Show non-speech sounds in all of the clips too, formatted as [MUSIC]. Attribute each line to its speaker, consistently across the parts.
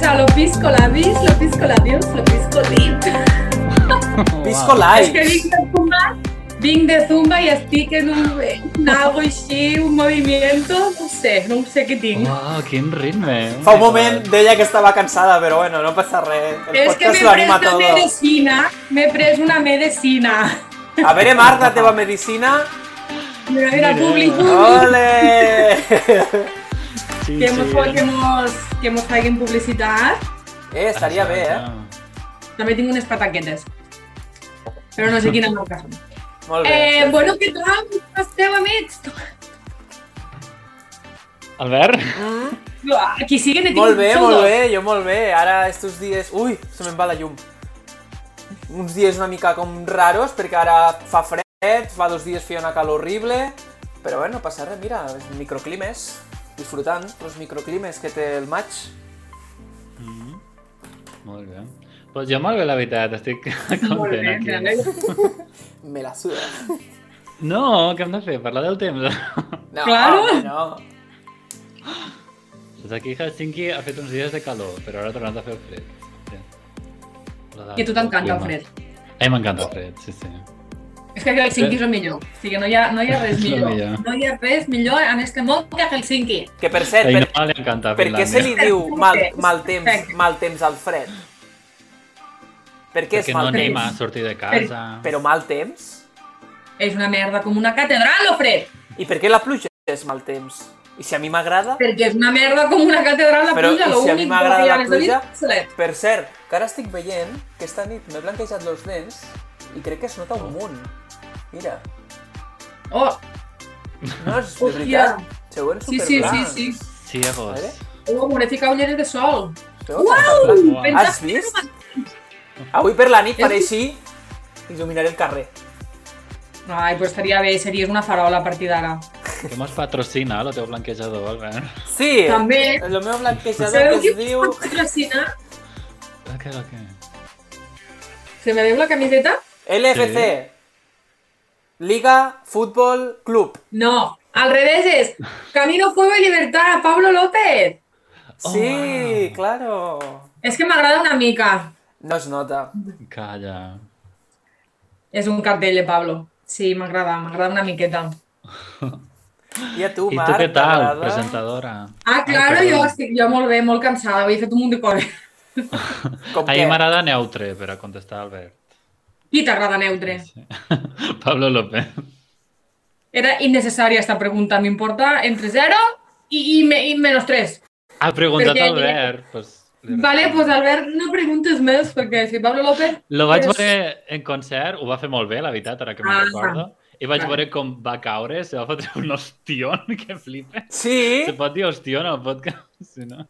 Speaker 1: sea, lo pisco la vis, lo pisco la dios, lo pisco lit. Oh,
Speaker 2: Pisco
Speaker 1: Es que
Speaker 2: Live.
Speaker 1: Bing de Zumba, Bing de Zumba y Stick en un, en algo així, un movimiento, no sé, no sé què tinc.
Speaker 3: Uau, Oh, quin ritme. eh?
Speaker 2: Fa un moment deia que estava cansada, però bueno, no passa res. El
Speaker 1: És que
Speaker 2: podcast
Speaker 1: m'he
Speaker 2: ho
Speaker 1: pres
Speaker 2: anima
Speaker 1: una
Speaker 2: todo.
Speaker 1: medicina, m'he pres una medicina.
Speaker 2: A veure, Marc, la teva medicina.
Speaker 1: Mira, mira, públic,
Speaker 2: Ah,
Speaker 1: públic,
Speaker 2: Ole!
Speaker 3: Sí,
Speaker 1: que mos, fa- que mos, que mos facin publicitat.
Speaker 2: Eh, estaria bé, eh?
Speaker 3: Ah.
Speaker 1: També tinc unes pataquetes, però
Speaker 2: [LAUGHS]
Speaker 1: no sé quina marca són.
Speaker 2: Molt
Speaker 1: Eh,
Speaker 2: bé.
Speaker 1: bueno, què tal? Com esteu, amics?
Speaker 3: Albert?
Speaker 2: Mm,
Speaker 1: Uah, Aquí sí que ne tinc
Speaker 2: Molt bé,
Speaker 1: un
Speaker 2: molt
Speaker 1: xungo.
Speaker 2: bé, jo molt bé. Ara, estos dies... Ui, se me'n va la llum. Uns dies una mica com raros, perquè ara fa fred, fa dos dies feia una calor horrible, però bueno, no passa res, mira, microclimes, disfrutant els microclimes que té el maig.
Speaker 3: Molt bé. Pues jo molt bé, la veritat, estic [LAUGHS] content
Speaker 1: Molt bé,
Speaker 3: aquí.
Speaker 1: m'alegro.
Speaker 2: Me la suda.
Speaker 3: No, què hem de fer? Parlar del temps. [LAUGHS]
Speaker 2: No,
Speaker 1: Claro.
Speaker 2: home, no.
Speaker 3: Doncs aquí Helsinki ha fet uns dies de calor, però ara ha tornat a fer fred. Sí. La de-
Speaker 1: Que a tu t'encanta el
Speaker 3: clima.
Speaker 1: fred.
Speaker 3: A mi m'encanta el fred, sí, sí.
Speaker 1: És que a Helsinki és el millor. O sigui, no hi ha, no hi ha res
Speaker 3: És el
Speaker 1: millor.
Speaker 3: millor.
Speaker 1: No hi ha res millor en este món que a Helsinki.
Speaker 2: Que per
Speaker 3: A
Speaker 2: cert,
Speaker 3: mi
Speaker 2: Eh, per,
Speaker 3: no li encanta
Speaker 2: per què se li
Speaker 3: Finlàndia.
Speaker 2: diu mal, mal temps,
Speaker 1: Perfecte.
Speaker 2: mal temps al fred? Per què és
Speaker 3: Perquè no
Speaker 2: mal
Speaker 3: anem
Speaker 2: temps?
Speaker 3: a sortir de casa.
Speaker 2: Però mal temps?
Speaker 1: És una merda com una catedral, o fred!
Speaker 2: I per què la pluja és mal temps? I si a mi m'agrada?
Speaker 1: Perquè és una merda com una catedral la
Speaker 2: Però,
Speaker 1: pluja,
Speaker 2: i
Speaker 1: lo
Speaker 2: si a mi
Speaker 1: únic
Speaker 2: m'agrada
Speaker 1: que hi ha
Speaker 2: la
Speaker 1: a les
Speaker 2: pluja?
Speaker 1: nits,
Speaker 2: Per cert, que ara estic veient que esta nit m'he blanquejat els dents i crec que es nota un munt. Mira,
Speaker 1: Oh,
Speaker 2: no és de
Speaker 1: Hòstia.
Speaker 2: veritat. Se veuen
Speaker 1: sí, sí, sí,
Speaker 2: superblancs.
Speaker 1: sí.
Speaker 3: Sí, a vos.
Speaker 2: Vale.
Speaker 1: Oh, m'hauré ficat ulleres de sol.
Speaker 2: Se veuen superblancs.
Speaker 1: Uau!
Speaker 3: Uau.
Speaker 1: Pensa
Speaker 2: Has vist? Avui per la nit faré així i il·luminaré el carrer.
Speaker 1: Ai, però estaria pues bé, series una farola a partir d'ara.
Speaker 3: Que mos patrocina el teu blanquejador,
Speaker 2: [LAUGHS]
Speaker 3: Albert.
Speaker 2: Sí,
Speaker 1: També.
Speaker 2: el meu blanquejador
Speaker 1: Sabeu
Speaker 2: Eh, que
Speaker 1: qui
Speaker 2: es
Speaker 1: [LAUGHS]
Speaker 2: diu...
Speaker 1: pot patrocinar?
Speaker 3: El que, el que...
Speaker 1: Se me veu la camiseta?
Speaker 2: LFC.
Speaker 3: Sí.
Speaker 2: Liga Fútbol Club.
Speaker 1: No, al revés es Camino, Fuego y Libertad, Pablo López.
Speaker 3: Oh,
Speaker 2: sí,
Speaker 3: wow.
Speaker 2: claro.
Speaker 1: És que m'agrada una mica.
Speaker 2: No es nota.
Speaker 3: Calla.
Speaker 1: És un cartell de Pablo. Sí, m'agrada, m'agrada una miqueta.
Speaker 2: I a tu,
Speaker 3: I tu
Speaker 2: Marc?
Speaker 3: què tal,
Speaker 2: t'agrada?
Speaker 3: presentadora?
Speaker 1: Ah, claro,
Speaker 3: Ai,
Speaker 1: jo
Speaker 3: perdó.
Speaker 1: estic jo molt bé, molt cansada, avui he fet un munt de [LAUGHS] coses.
Speaker 2: Com
Speaker 3: A mi
Speaker 2: què?
Speaker 3: m'agrada neutre, per a contestar Albert.
Speaker 1: Qui t'agrada neutre?
Speaker 3: Sí. [LAUGHS] Pablo López.
Speaker 1: Era innecessària esta pregunta, m'importa entre 0 i, i, me, i menos 3.
Speaker 3: Ha preguntat
Speaker 1: Perquè-
Speaker 3: Albert. Pues, li
Speaker 1: Vale,
Speaker 3: respondo.
Speaker 1: pues Albert, no preguntes més, perquè si Pablo López...
Speaker 3: Lo vaig
Speaker 1: és-
Speaker 3: veure en concert, ho va fer molt bé, la veritat, ara que me'n
Speaker 1: Ah.
Speaker 3: recordo. I vaig
Speaker 1: Vale.
Speaker 3: veure com va caure, se va fotre un ostión, [LAUGHS] que flipa.
Speaker 2: Sí?
Speaker 3: Se pot dir ostión al podcast, si no?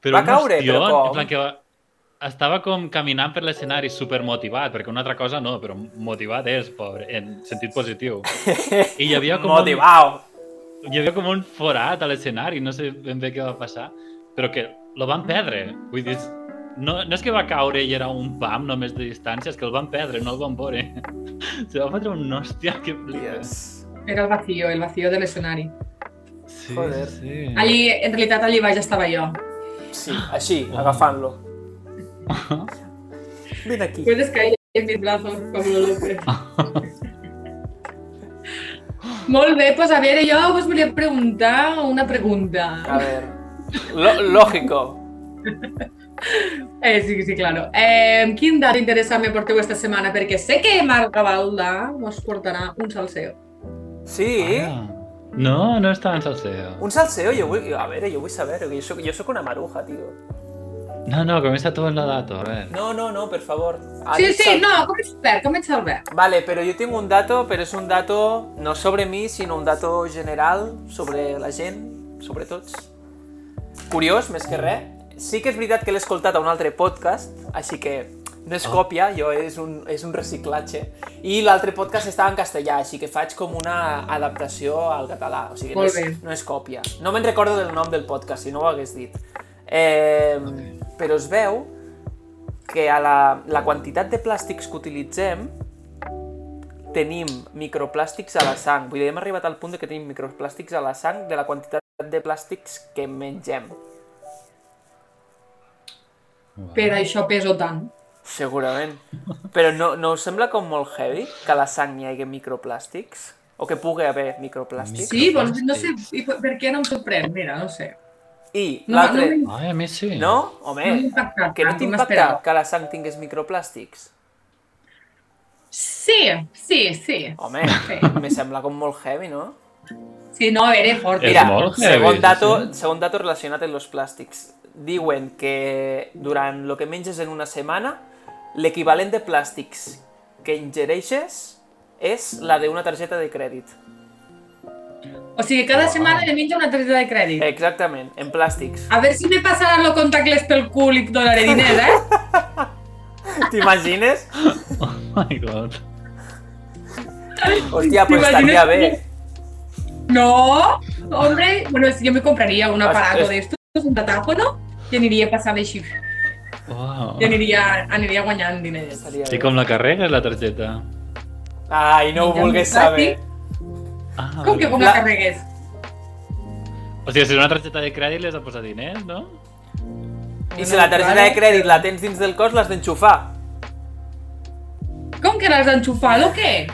Speaker 3: Però
Speaker 2: Va
Speaker 3: un
Speaker 2: caure, però com?
Speaker 3: En plan que va... Estava com caminant per l'escenari supermotivat, perquè una altra cosa no, però motivat és, pobre, en sentit positiu. I hi havia com un,
Speaker 2: Motivado.
Speaker 3: hi havia com un forat a l'escenari, no sé ben bé què va passar, però que lo van perdre. Vull dir, no, no és que va caure i era un pam només de distància, és que el van perdre, no el van veure. [LAUGHS] Se va fotre un hòstia que flipes.
Speaker 2: Yes.
Speaker 1: Era el vacío, el vacío de l'escenari.
Speaker 3: Sí,
Speaker 2: Joder.
Speaker 3: sí.
Speaker 1: Allí, en realitat, allí baix estava jo.
Speaker 2: Sí, així, agafant-lo. Vine aquí.
Speaker 1: Puedes caer en mis brazos, Pablo López.
Speaker 2: [LAUGHS]
Speaker 1: Molt bé, pues a veure, jo us volia preguntar una
Speaker 2: A
Speaker 1: pregunta.
Speaker 2: ver. Lo- lógico.
Speaker 1: Eh, sí, sí, claro. Eh, quin dat interessant me porteu esta setmana? Perquè sé que Marc Gavalda us portarà un salseo.
Speaker 2: Sí?
Speaker 3: Ah, no, no està en salseo.
Speaker 2: Un salseo, jo vull... A veure, jo vull saber, jo soc, jo soc una maruja, tio.
Speaker 3: No, no, comienza tu en la data, a ver.
Speaker 2: No, no, no, per favor.
Speaker 1: Sí, sí,
Speaker 2: Ah, Sal-
Speaker 1: no, comença Albert, comença Albert.
Speaker 2: Vale, pero yo tengo un dato, pero es un dato no sobre mí, sinó un dato general sobre la gent, sobre tots. Curiós, més que res. Sí que és veritat que l'he escoltat a un altre podcast, així que no
Speaker 1: Ah.
Speaker 2: és còpia, jo és un, és un reciclatge. I l'altre podcast estava en castellà, així que faig com una adaptació al català. O sigui, no
Speaker 1: Molt
Speaker 2: és,
Speaker 1: bé.
Speaker 2: no és còpia. No me'n recordo del nom del podcast, si no ho hagués dit. Eh, Però es veu que a la, la quantitat de plàstics que utilitzem tenim microplàstics a la sang. Vull dir, hem arribat al punt de que tenim microplàstics a la sang de la quantitat de plàstics que mengem.
Speaker 1: Per això peso tant.
Speaker 2: Segurament. Però no, no us sembla com molt heavy que a la sang hi hagi microplàstics? O que pugui haver microplàstics?
Speaker 1: Sí, doncs no sé i per per què no em sorprèn, mira, no sé.
Speaker 2: I
Speaker 1: No, no,
Speaker 2: l'altre...
Speaker 1: m'he-
Speaker 3: Ai, a mi sí.
Speaker 2: No? Home,
Speaker 1: no m'impacta
Speaker 2: Eh, que no
Speaker 1: tant com
Speaker 2: t'impacta
Speaker 1: esperava.
Speaker 2: que la sang tingués microplàstics?
Speaker 1: Sí, sí, sí.
Speaker 2: Home,
Speaker 1: [LAUGHS] Sí.
Speaker 2: me sembla com molt heavy, no?
Speaker 1: Sí, no, a veure, fort.
Speaker 3: És
Speaker 2: Mira,
Speaker 3: molt heavy,
Speaker 2: segon,
Speaker 3: sí,
Speaker 2: dato,
Speaker 3: sí.
Speaker 2: segon dato relacionat amb els plàstics. Diuen que durant el que menges en una setmana, l'equivalent de plàstics que ingereixes és la d'una targeta de crèdit.
Speaker 1: O sigui, cada
Speaker 3: Wow.
Speaker 1: setmana li menjo una targeta de crèdit.
Speaker 2: Exactament, en
Speaker 1: [LAUGHS]
Speaker 2: plàstics.
Speaker 1: A veure si me passaran los contactes pel cul i et donaré diners, eh?
Speaker 2: T'imagines?
Speaker 3: Oh my god.
Speaker 2: Hòstia, però estaria bé.
Speaker 1: T'imagines? No, hombre, bueno, si yo me compraría un
Speaker 2: Ostres.
Speaker 1: aparato de estos, un tatáfono, i aniria passant així,
Speaker 3: Wow.
Speaker 1: i aniria, aniria guanyant diners.
Speaker 2: Estaria
Speaker 3: I
Speaker 2: bé.
Speaker 3: com la carrera és la targeta?
Speaker 2: Ai, no ho vulguis saber.
Speaker 3: Ah,
Speaker 1: Com que com
Speaker 3: vale.
Speaker 1: la
Speaker 2: La-
Speaker 1: carregues?
Speaker 3: O sigui, si és una targeta de crèdit, les has posat diners, no?
Speaker 2: I si la targeta de crèdit la tens dins del cos, l'has d'enxufar.
Speaker 1: Com que l'has d'enxufar o què?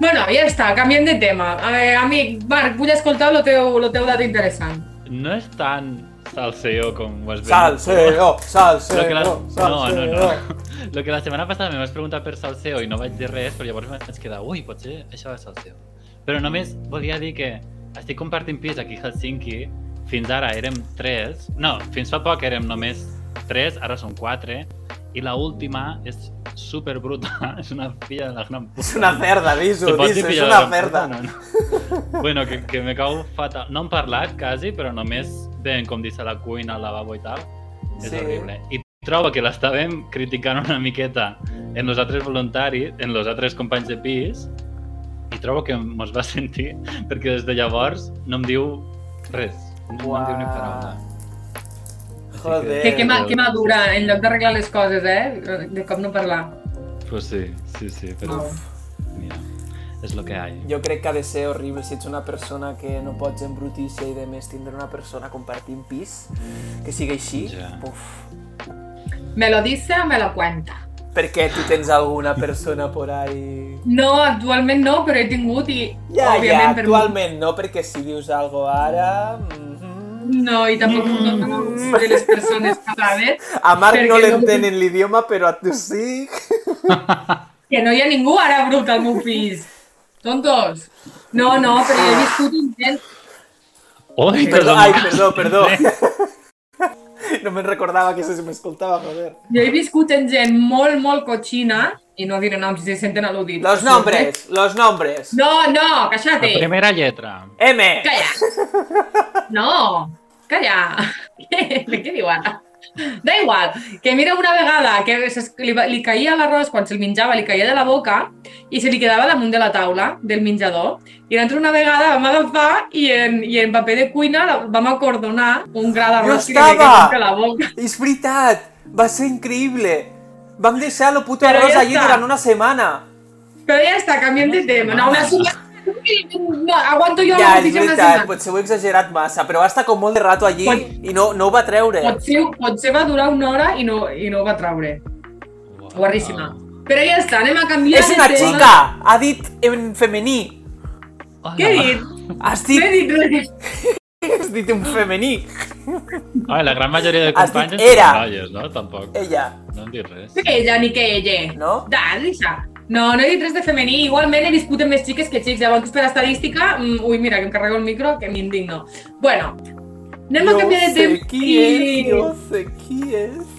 Speaker 1: Bueno, ja està, canviem de tema. Eh, amic, Marc, vull escoltar el teu, lo teu dato interessant.
Speaker 3: No és tan salseo com ho has vist.
Speaker 2: Salseo,
Speaker 3: Lo que la... No,
Speaker 2: salseo,
Speaker 3: no,
Speaker 2: Eh, salseo.
Speaker 3: no. [LAUGHS] Lo que la setmana passada em vas preguntar per salseo i no vaig dir res, però llavors vaig quedar, ui, potser això és salseo. Però només volia dir que estic compartint pis aquí a Helsinki, fins ara érem tres, no, fins fa poc érem només tres, ara són quatre, i la última és super bruta, [LAUGHS] és una filla de la gran puta.
Speaker 2: És una cerda,
Speaker 3: Se
Speaker 2: diso,
Speaker 3: pot
Speaker 2: diso,
Speaker 3: dir
Speaker 2: és
Speaker 3: filla de
Speaker 2: una
Speaker 3: la gran
Speaker 2: cerda.
Speaker 3: puta, No, [LAUGHS] no. bueno, que, que me cau fatal. No hem parlat, quasi, però només veiem com dins a la cuina, al lavabo i tal. És
Speaker 2: Sí.
Speaker 3: horrible. eh? I trobo que l'estàvem criticant una miqueta en els altres voluntaris, en els altres companys de pis, i trobo que mos va sentir, [LAUGHS] perquè des de llavors no em diu res. No, no em diu ni
Speaker 2: Uah.
Speaker 3: paraula. Així
Speaker 2: Joder.
Speaker 1: Que, que, ma,
Speaker 3: Déu.
Speaker 1: que madura, en lloc d'arreglar les coses, eh? De cop no parlar.
Speaker 3: Pues sí, sí, sí, però
Speaker 1: Uf.
Speaker 3: mira, és lo que hay.
Speaker 2: Jo crec que ha de ser horrible si ets una persona que no pots embrutir-se i de més tindre una persona compartint pis, que sigui així,
Speaker 3: Ja.
Speaker 2: uf.
Speaker 1: Me lo dice o me lo cuenta.
Speaker 2: Perquè tu tens alguna persona por ahí...
Speaker 1: No, actualment no, però he tingut i,
Speaker 2: Ja, ja,
Speaker 1: òbviament, per mi-
Speaker 2: actualment no, perquè si dius algo ara... mhm.
Speaker 1: No, i tampoc mm. no de les persones que saben
Speaker 2: A Marc no
Speaker 1: Perquè no-
Speaker 2: l'entenen l'idioma, però a
Speaker 1: [LAUGHS]
Speaker 2: tu sí...
Speaker 1: que no hi ha ningú ara brut al meu pis. Tontos. No, no, però jo he viscut un temps
Speaker 3: Oi,
Speaker 2: Perdó,
Speaker 3: perdona.
Speaker 2: ai,
Speaker 1: [LAUGHS]
Speaker 2: perdó, perdó. [LAUGHS] No me'n recordava que se m'escoltava, joder.
Speaker 1: Jo he viscut en gent molt, molt cotxina, i no diré noms si se senten al·ludits.
Speaker 2: Los nombres, los nombres.
Speaker 1: No, no,
Speaker 3: La
Speaker 1: caixate.
Speaker 3: primera lletra.
Speaker 2: M.
Speaker 1: Calla. No, calla. [LAUGHS] Què, què diu ara? Da igual, que mira una vegada que se, li, va- li caïa l'arròs quan se'l menjava, li caïa de la boca i se li quedava damunt de la taula del menjador. I l'altra una vegada vam agafar i en, i en paper de cuina la- vam acordonar un gra d'arròs
Speaker 2: Jo
Speaker 1: que li caigués
Speaker 2: estava!
Speaker 1: de la boca.
Speaker 2: És veritat! Va ser increïble! Vam deixar lo puto
Speaker 1: Però
Speaker 2: arròs
Speaker 1: ja
Speaker 2: allí
Speaker 1: està.
Speaker 2: durant una setmana.
Speaker 1: Però ja està, canviem de tema. No, una setmana. No, aguanto jo
Speaker 2: ja,
Speaker 1: la
Speaker 2: és
Speaker 1: notícia una
Speaker 2: veritat,
Speaker 1: setmana.
Speaker 2: potser ho he exagerat massa, però va estar com molt de rato allí
Speaker 1: Pot-
Speaker 2: i no, no ho va treure.
Speaker 1: Potser, potser va durar una hora i no, i no ho va traure. Guarríssima. Però ja està, anem a canviar
Speaker 2: És
Speaker 1: de
Speaker 2: una
Speaker 1: tema.
Speaker 2: xica! Ha dit en femení.
Speaker 3: Ah. Hola.
Speaker 1: Què he dit?
Speaker 2: Has
Speaker 1: No he
Speaker 2: dit,
Speaker 1: dit res.
Speaker 2: [LAUGHS] has dit en femení.
Speaker 3: Ai, la gran majoria de
Speaker 2: Has
Speaker 3: companys
Speaker 2: dit era. Eh.
Speaker 3: són noies, no? Tampoc.
Speaker 2: Ella.
Speaker 3: No han dit res.
Speaker 1: Que ella ni que ella.
Speaker 2: No?
Speaker 1: Da, deixa. No, no he dit res de femení. Igualment he viscut amb més xiques que xics. Llavors, per estadística... mm, Ui, mira, que em carrego el micro, que m'indigno. Bueno, anem a canviar de
Speaker 2: sé
Speaker 1: tema.
Speaker 2: qui és, jo sé qui és.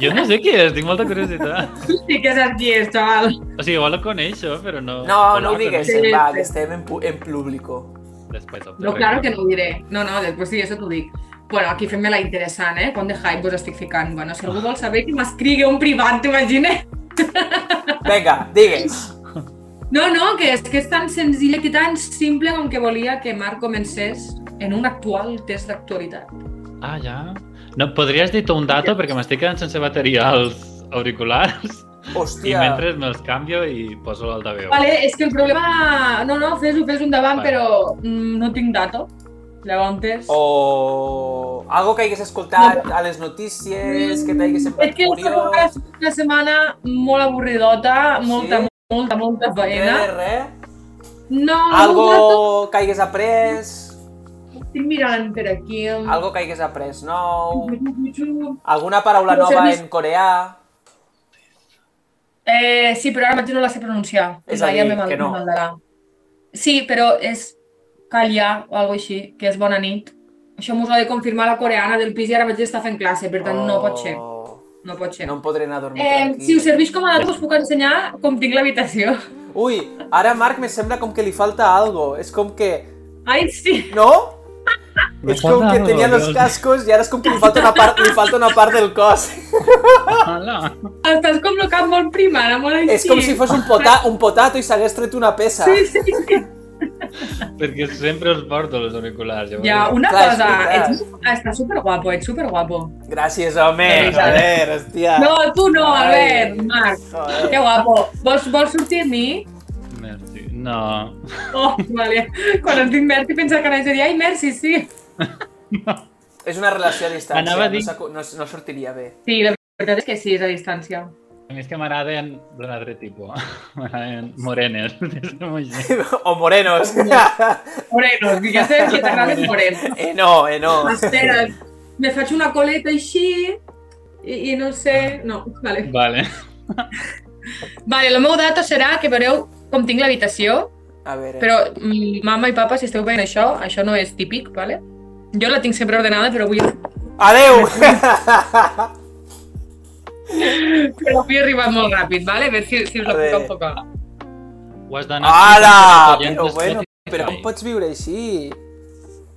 Speaker 3: Jo no sé qui és, tinc molta curiositat.
Speaker 1: Sí que saps qui és, xaval.
Speaker 3: O sigui, igual la coneixo, però no...
Speaker 2: No,
Speaker 3: o
Speaker 2: no ho
Speaker 3: la
Speaker 2: digues,
Speaker 1: Sí,
Speaker 2: em va,
Speaker 1: sí.
Speaker 2: que estem en, pu- en público.
Speaker 3: conec. Després, off the
Speaker 1: No, claro
Speaker 3: record.
Speaker 1: que no ho diré. No, no, després sí, això t'ho dic. Bueno, aquí fem-me la interessant, eh? Quant de hype vos estic ficant. Bueno, si algú vol saber, que m'escrigui un privat, t'imagines?
Speaker 2: Vinga, digues.
Speaker 1: No, no, que és que és tan senzilla i tan simple com que volia que Marc comencés en un actual test d'actualitat.
Speaker 3: Ah, ja? No, podries dir tu un dato perquè m'estic quedant sense bateria als
Speaker 2: [LAUGHS]
Speaker 3: auriculars i
Speaker 2: Hòstia.
Speaker 3: mentre me'ls canvio i poso l'altaveu.
Speaker 1: Vale, és que el problema... No, no, fes-ho, fes-ho endavant,
Speaker 3: Vale.
Speaker 1: però mm, no tinc dato. Llavors...
Speaker 2: Oh, O algo que hagués escoltat a les notícies, que t'hagués semblat
Speaker 1: Mm, És que esta
Speaker 2: curiós...
Speaker 1: setmana ha sigut una setmana molt avorridota, molta,
Speaker 2: Sí?
Speaker 1: molta, molta feina.
Speaker 2: Res, res.
Speaker 1: No, no,
Speaker 2: Algo que hagués après,
Speaker 1: estic mirant per aquí.
Speaker 2: algo que hagués après nou,
Speaker 1: Mm. Algo...
Speaker 2: alguna paraula
Speaker 1: Però
Speaker 2: nova
Speaker 1: serveix-
Speaker 2: en coreà...
Speaker 1: Eh, sí, però ara mateix no la sé pronunciar.
Speaker 2: És a
Speaker 1: Ja
Speaker 2: dir,
Speaker 1: me mal-
Speaker 2: que no.
Speaker 1: maldarà. Sí, però és Kalia o alguna així, que és bona nit. Això m'ho ha de confirmar la coreana del pis i ara mateix està fent classe, per tant no pot ser. No pot ser.
Speaker 2: No em podré anar a dormir
Speaker 1: Eh,
Speaker 2: tranquil.
Speaker 1: si us serveix com a data, us puc ensenyar com tinc l'habitació. [LAUGHS]
Speaker 2: Ui, ara Marc me sembla com que li falta algo. És com que...
Speaker 1: Ai, sí.
Speaker 2: No?
Speaker 3: Me
Speaker 2: és com
Speaker 3: falta
Speaker 2: que
Speaker 3: algo,
Speaker 2: tenia els
Speaker 3: Dios.
Speaker 2: cascos i ara és com que li falta una part, li falta una part del
Speaker 1: [LAUGHS]
Speaker 2: cos.
Speaker 3: Hola.
Speaker 1: Estàs com locat molt prima, ara molt així.
Speaker 2: És com si fos un, pota, un potato i s'hagués tret una peça.
Speaker 1: Sí, sí, sí.
Speaker 3: Perquè sempre els porto els auriculars. llavors-
Speaker 1: Ja, una
Speaker 2: Clar, és
Speaker 1: cosa,
Speaker 2: veritat.
Speaker 1: ets, estàs superguapo, ets superguapo.
Speaker 2: Gràcies, home.
Speaker 1: Sí, sí.
Speaker 2: Joder, hòstia.
Speaker 1: No, tu no, Albert,
Speaker 2: Ai.
Speaker 1: Marc. Que
Speaker 2: Joder.
Speaker 1: guapo. Vols, vols sortir amb mi?
Speaker 3: Merci. No.
Speaker 1: Oh, vale. Quan et dic Merci pensa que no seria, ai, Merci, sí.
Speaker 2: És una relació a distància,
Speaker 3: Anava a
Speaker 2: no,
Speaker 3: dir-
Speaker 2: s'acu- no, no sortiria bé. [LAUGHS]
Speaker 1: Sí, la veritat és que sí, és a distància.
Speaker 3: A mi és que m'agraden d'un altre tipus. [LAUGHS] M'agraden morenes. [LAUGHS] des de molt lluny.
Speaker 2: o morenos.
Speaker 1: Moreno, ja sé que t'agraden moreno.
Speaker 2: [LAUGHS] eh no, eh no.
Speaker 1: Espera, me faig una coleta així i, i no sé... No, vale.
Speaker 3: Vale.
Speaker 1: Vale, el meu dato serà que veureu com tinc l'habitació,
Speaker 2: A veure.
Speaker 1: però mm, mama i papa, si esteu veient això, això no és típic, vale? Jo la tinc sempre ordenada, però avui,
Speaker 3: [LAUGHS]
Speaker 2: Adeu!
Speaker 1: però avui he arribat molt ràpid, vale? A veure si, si us la
Speaker 2: A veure.
Speaker 1: puc enfocar.
Speaker 3: Ho has d'anar...
Speaker 2: Ara!
Speaker 3: fent amb
Speaker 2: Però
Speaker 3: els
Speaker 2: bueno,
Speaker 3: clients de
Speaker 2: però com
Speaker 3: Spotify.
Speaker 2: pots viure així?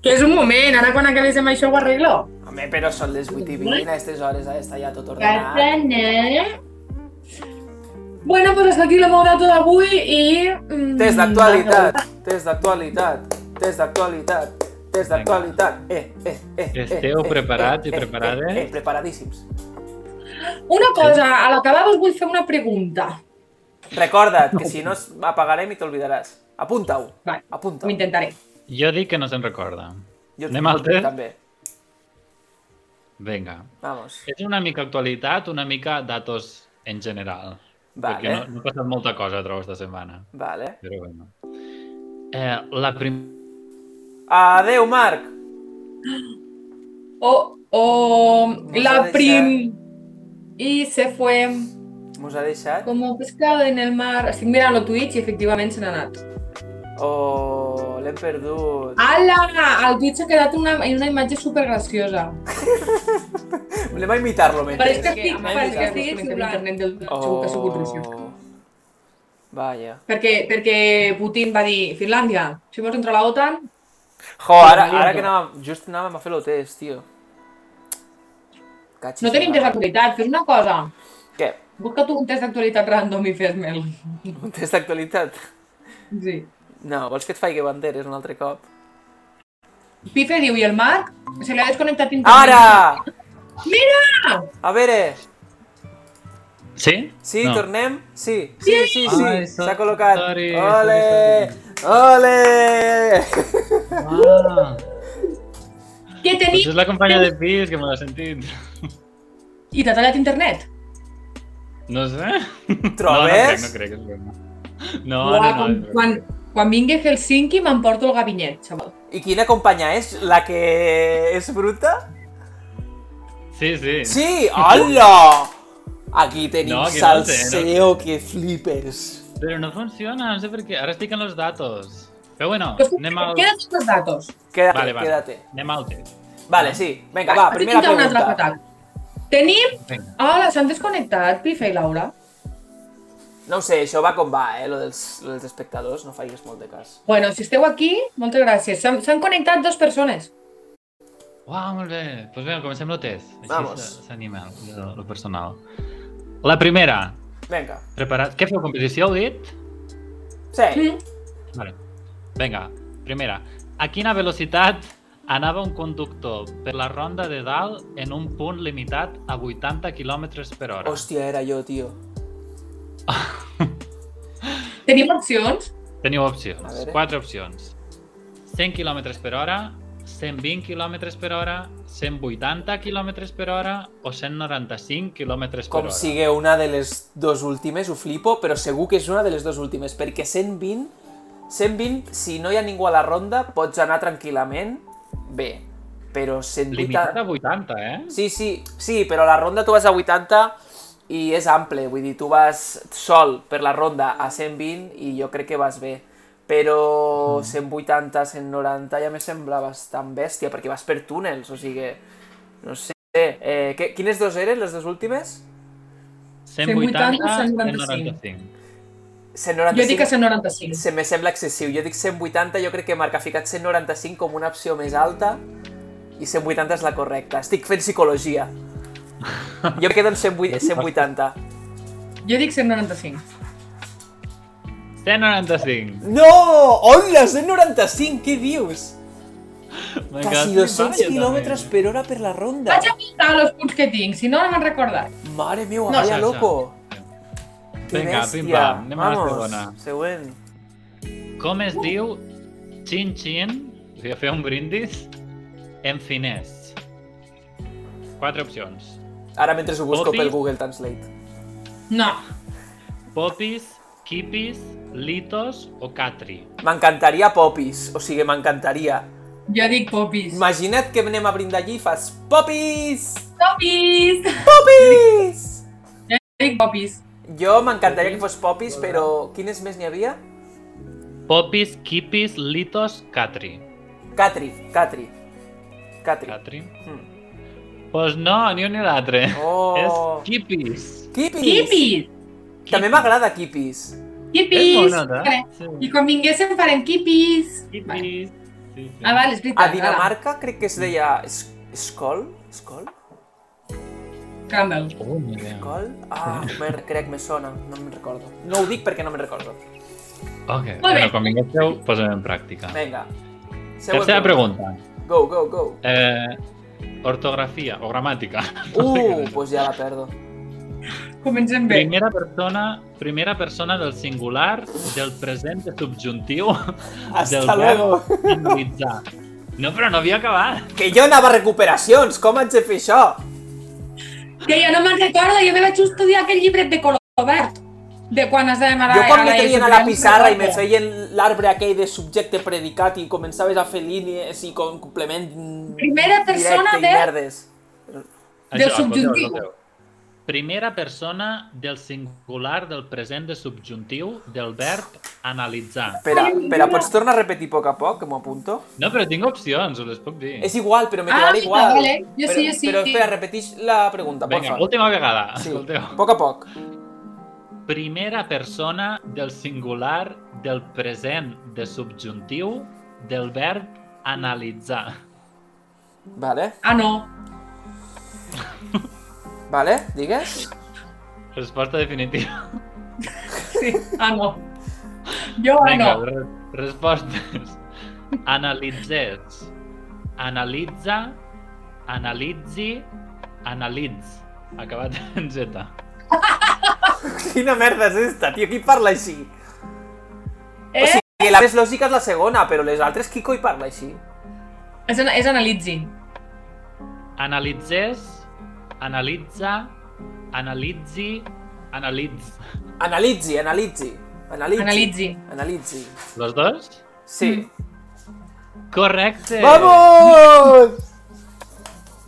Speaker 1: Que és un moment, ara quan acabéssim això ho arreglo.
Speaker 2: Home, però són les 8 i 20, a aquestes hores ha d'estar ja tot ordenat.
Speaker 1: Catalana. Bueno, pues hasta aquí la meu dato d'avui i... mm,
Speaker 2: Test d'actualitat, test d'actualitat, test d'actualitat, test d'actualitat. Eh, eh, eh, eh,
Speaker 3: Esteu
Speaker 2: eh,
Speaker 3: preparats
Speaker 2: eh,
Speaker 3: i
Speaker 2: eh,
Speaker 3: preparades?
Speaker 2: Eh, eh, preparadíssims.
Speaker 1: Una cosa, a l'acabar us vull fer una pregunta.
Speaker 2: Recorda't que si no es- apagarem i t'olvidaràs. Apunta-ho,
Speaker 1: Vale,
Speaker 2: apunta-ho.
Speaker 1: ho intentaré.
Speaker 3: Jo dic que no se'n recorda.
Speaker 2: Jo
Speaker 3: Anem al test?
Speaker 2: També,
Speaker 3: Vinga.
Speaker 2: vamos.
Speaker 3: És una mica actualitat, una mica datos en general. Perquè no,
Speaker 2: Vale,
Speaker 3: no ha passat molta cosa, trobo, esta setmana.
Speaker 2: vale.
Speaker 3: Però bueno. Eh, la primera...
Speaker 2: Adeu, Marc!
Speaker 1: O, o
Speaker 2: Vamos a
Speaker 1: la
Speaker 2: deixar-
Speaker 1: prim y se fue
Speaker 2: Mos ha deixat?
Speaker 1: como pescado en el mar. Estic mirant el Twitch i efectivament se n'ha anat.
Speaker 2: Oh, l'hem perdut.
Speaker 1: Ala! Al Twitch s'ha quedat una, en una imatge supergraciosa.
Speaker 2: Volem a imitar-lo mentre.
Speaker 1: Pareix
Speaker 2: Oh.
Speaker 1: que estic,
Speaker 2: Anem a
Speaker 1: pareix que
Speaker 2: imitar-lo.
Speaker 1: estic internet del segur que ha sigut Rússia.
Speaker 2: Vaja.
Speaker 1: Perquè, perquè Putin va dir, Finlàndia, si vols entrar a l'OTAN,
Speaker 2: Jo, ara, ara que anàvem, just anàvem a fer el test, tio. Cachis,
Speaker 1: no tenim test d'actualitat, fes una cosa.
Speaker 2: Què?
Speaker 1: Busca tu un test d'actualitat random i fes-me'l.
Speaker 2: Un test d'actualitat?
Speaker 1: Sí.
Speaker 2: No, vols que et faci banderes un altre cop?
Speaker 1: Pife diu, i el Marc? Se li ha desconnectat internet.
Speaker 2: Ara!
Speaker 1: Mira!
Speaker 2: A veure,
Speaker 3: Sí?
Speaker 2: sí,
Speaker 3: no.
Speaker 2: tornem? Sí, sí, sí, sí,
Speaker 3: Ai,
Speaker 2: s'ha col·locat.
Speaker 3: sorry,
Speaker 2: Ole!
Speaker 3: sorry,
Speaker 2: Ole!
Speaker 3: [LAUGHS] Ah,
Speaker 1: Què
Speaker 3: doncs
Speaker 1: tenim?
Speaker 3: és la companya de pis que me l'ha sentit.
Speaker 1: I t'ha tallat internet?
Speaker 3: No sé.
Speaker 2: Trobes?
Speaker 3: No, no crec, no crec, és broma. No,
Speaker 1: Uah,
Speaker 3: no,
Speaker 1: quan,
Speaker 3: no. és
Speaker 1: quan,
Speaker 3: broma.
Speaker 1: quan vingui a Helsinki m'emporto el gabinet, xaval.
Speaker 2: I quina companya és? La que és bruta?
Speaker 3: Sí, sí.
Speaker 2: Sí, hola! Aquí tenim
Speaker 3: No, que no sé,
Speaker 2: salseo que flipes.
Speaker 3: Però no funciona, no sé per què. Ara estic en els datos. Però bueno,
Speaker 1: Pues,
Speaker 3: anem al...
Speaker 1: Queda't amb els datos.
Speaker 2: Quédate,
Speaker 3: Vale, vale.
Speaker 2: quédate.
Speaker 3: Anem al test.
Speaker 2: Vale, sí. Vinga, va,
Speaker 1: Vale,
Speaker 2: primera
Speaker 1: tinc una altra
Speaker 2: pregunta.
Speaker 1: fatal. Tenim...
Speaker 3: Vinga.
Speaker 1: Hola, s'han desconnectat, Pifa i Laura.
Speaker 2: No ho sé, això va com va, eh, lo dels, lo dels espectadors, no facis molt de cas.
Speaker 1: Bueno, si esteu aquí, moltes gràcies. S'han s'han connectat dues persones.
Speaker 3: Uau, molt bé. Doncs pues bé, comencem el test.
Speaker 2: Vamos.
Speaker 3: Així s- s'anima el, el personal. La primera.
Speaker 2: Vinga.
Speaker 3: Preparat. Què feu, competició, heu dit?
Speaker 2: Sí.
Speaker 1: Mm.
Speaker 3: Vale. Vinga, primera. A quina velocitat anava un conductor per la ronda de dalt en un punt limitat a 80 km per hora?
Speaker 2: Hòstia, era jo, tio.
Speaker 1: Tenim opcions?
Speaker 3: Teniu
Speaker 2: A
Speaker 3: opcions,
Speaker 2: veure.
Speaker 3: quatre opcions. 100 km per hora, 120 km per hora, 180 km per hora o 195 km per
Speaker 2: Com
Speaker 3: hora.
Speaker 2: sigui una de les dues últimes, ho flipo, però segur que és una de les dues últimes, perquè 120, 120, si no hi ha ningú a la ronda, pots anar tranquil·lament bé, però 180...
Speaker 3: Limitat a 80, eh?
Speaker 2: Sí, sí, sí, però a la ronda tu vas a 80 i és ample, vull dir, tu vas sol per la ronda a 120 i jo crec que vas bé. Però 180, 190 ja me sembla bastant bèstia, perquè vas per túnels, o sigui, no sé. Eh, que, quines dos eren, les dues últimes?
Speaker 3: 180,
Speaker 1: 195.
Speaker 3: 195.
Speaker 2: 195.
Speaker 1: Jo dic que 195.
Speaker 2: Se me sembla excessiu. Jo dic 180, jo crec que Marc ha ficat 195 com una opció més alta i 180 és la correcta. Estic fent psicologia. Jo em quedo en 108 180.
Speaker 1: Jo dic 195.
Speaker 3: 195.
Speaker 2: No! Hola, 195, què dius? Quasi 200 quilòmetres per hora per la ronda.
Speaker 1: Vaig a apuntar els punts que tinc, si no, no me'n recordat.
Speaker 2: Mare meva,
Speaker 1: No,
Speaker 2: vaya
Speaker 3: Sasha.
Speaker 2: loco. Que
Speaker 3: Vinga,
Speaker 2: bèstia.
Speaker 3: pim pam, anem a la
Speaker 2: Vamos,
Speaker 3: segona.
Speaker 2: Següent.
Speaker 3: Com es diu xin xin, us a fer un brindis, en finès? Quatre opcions.
Speaker 2: Ara mentre ho busco
Speaker 3: Poppy.
Speaker 2: pel Google Translate.
Speaker 1: No.
Speaker 3: Popis, kipis, litos o catri.
Speaker 2: M'encantaria popis, o sigui, m'encantaria.
Speaker 1: Jo dic popis.
Speaker 2: Imagina't que anem a brindar allí i fas popis!
Speaker 1: Popis!
Speaker 2: Popis!
Speaker 1: Jo dic popis.
Speaker 2: Jo m'encantaria que fos popis, però quines més n'hi havia?
Speaker 3: Popis, kipis, litos, catri.
Speaker 2: Catri, Catri. Catri.
Speaker 3: Catri.
Speaker 2: Mm.
Speaker 3: Pues no, ni un ni l'altre.
Speaker 2: Oh.
Speaker 3: És kipis.
Speaker 2: Kipis!
Speaker 1: Kipis!
Speaker 2: També m'agrada Kipis.
Speaker 3: És
Speaker 1: Kipis!
Speaker 3: bona, eh?
Speaker 1: Vale. I
Speaker 3: Sí.
Speaker 1: quan vinguéssim farem kipis. Vale.
Speaker 3: Kipis. Sí, sí.
Speaker 1: Ah, vale, és veritat.
Speaker 2: A
Speaker 1: vale.
Speaker 2: Dinamarca crec que es deia es Skol? Skol?
Speaker 1: Campbell.
Speaker 3: Oh, ni idea.
Speaker 2: Skol? Ah, me, crec, me sona, no me'n recordo. No ho dic perquè no me'n recordo.
Speaker 3: Ok,
Speaker 1: bé.
Speaker 3: bueno, quan vinguéssiu, posem en pràctica.
Speaker 2: Vinga. Següent
Speaker 3: Tercera pregunta.
Speaker 2: Go, go, go.
Speaker 3: Eh, ortografia o gramàtica. No sé què
Speaker 2: Uh,
Speaker 3: és.
Speaker 2: pues ja la perdo.
Speaker 1: Comencem bé.
Speaker 3: Primera persona, primera persona del singular, del present de subjuntiu, del
Speaker 2: Hasta
Speaker 3: verb
Speaker 2: luego.
Speaker 3: finalitzar. No, però no havia acabat.
Speaker 2: Que jo anava a recuperacions, com haig de fer això?
Speaker 1: Que jo no me'n recordo, jo me vaig estudiar aquell llibret de color verd. De quan has d'anar a...
Speaker 2: Jo quan me
Speaker 1: la
Speaker 2: traien a la
Speaker 1: ESO,
Speaker 2: pissarra i me
Speaker 1: recordo.
Speaker 2: feien l'arbre aquell de subjecte predicat i començaves a fer línies i com complement
Speaker 1: Primera persona
Speaker 2: directe i
Speaker 1: de-
Speaker 2: merdes.
Speaker 1: Del
Speaker 3: escolteu,
Speaker 1: subjuntiu.
Speaker 3: escolteu. Primera persona del singular del present de subjuntiu del verb analitzar.
Speaker 2: Espera, espera, pots tornar a repetir a poc a poc, que m'ho apunto?
Speaker 3: No, però tinc opcions, us les puc dir.
Speaker 2: És igual, però me
Speaker 1: Ah,
Speaker 2: quedarà
Speaker 1: vinga,
Speaker 2: igual.
Speaker 1: vale. Jo
Speaker 2: però,
Speaker 1: sí, jo sí.
Speaker 2: Però espera, repeteix la pregunta,
Speaker 3: Vinga,
Speaker 2: porfa.
Speaker 3: última vegada.
Speaker 2: Sí,
Speaker 3: Escolteu.
Speaker 2: a poc a poc.
Speaker 3: Primera persona del singular del present de subjuntiu del verb analitzar.
Speaker 2: Vale,
Speaker 1: Ah, no.
Speaker 2: vale, digues.
Speaker 3: Resposta definitiva.
Speaker 1: Sí, ah, no. Jo, ah,
Speaker 3: Vinga,
Speaker 1: no.
Speaker 3: re- respostes. Analitzes. Analitza. Analitzi. Analitz. Acabat en Z.
Speaker 2: Quina merda és esta, tio? Qui parla així?
Speaker 1: Eh?
Speaker 2: I la més lògica és la segona, però les altres, qui coi parla així?
Speaker 1: És, ana- és analitzi.
Speaker 3: Analitzes. Analitza. Analitzi. Analitz.
Speaker 2: Analitzi, analitzi. Analitzi.
Speaker 1: Analitzi.
Speaker 2: Analitzi.
Speaker 3: Los dos?
Speaker 2: Sí.
Speaker 1: Mm.
Speaker 2: Eh,
Speaker 3: Correcte.
Speaker 2: Vamos!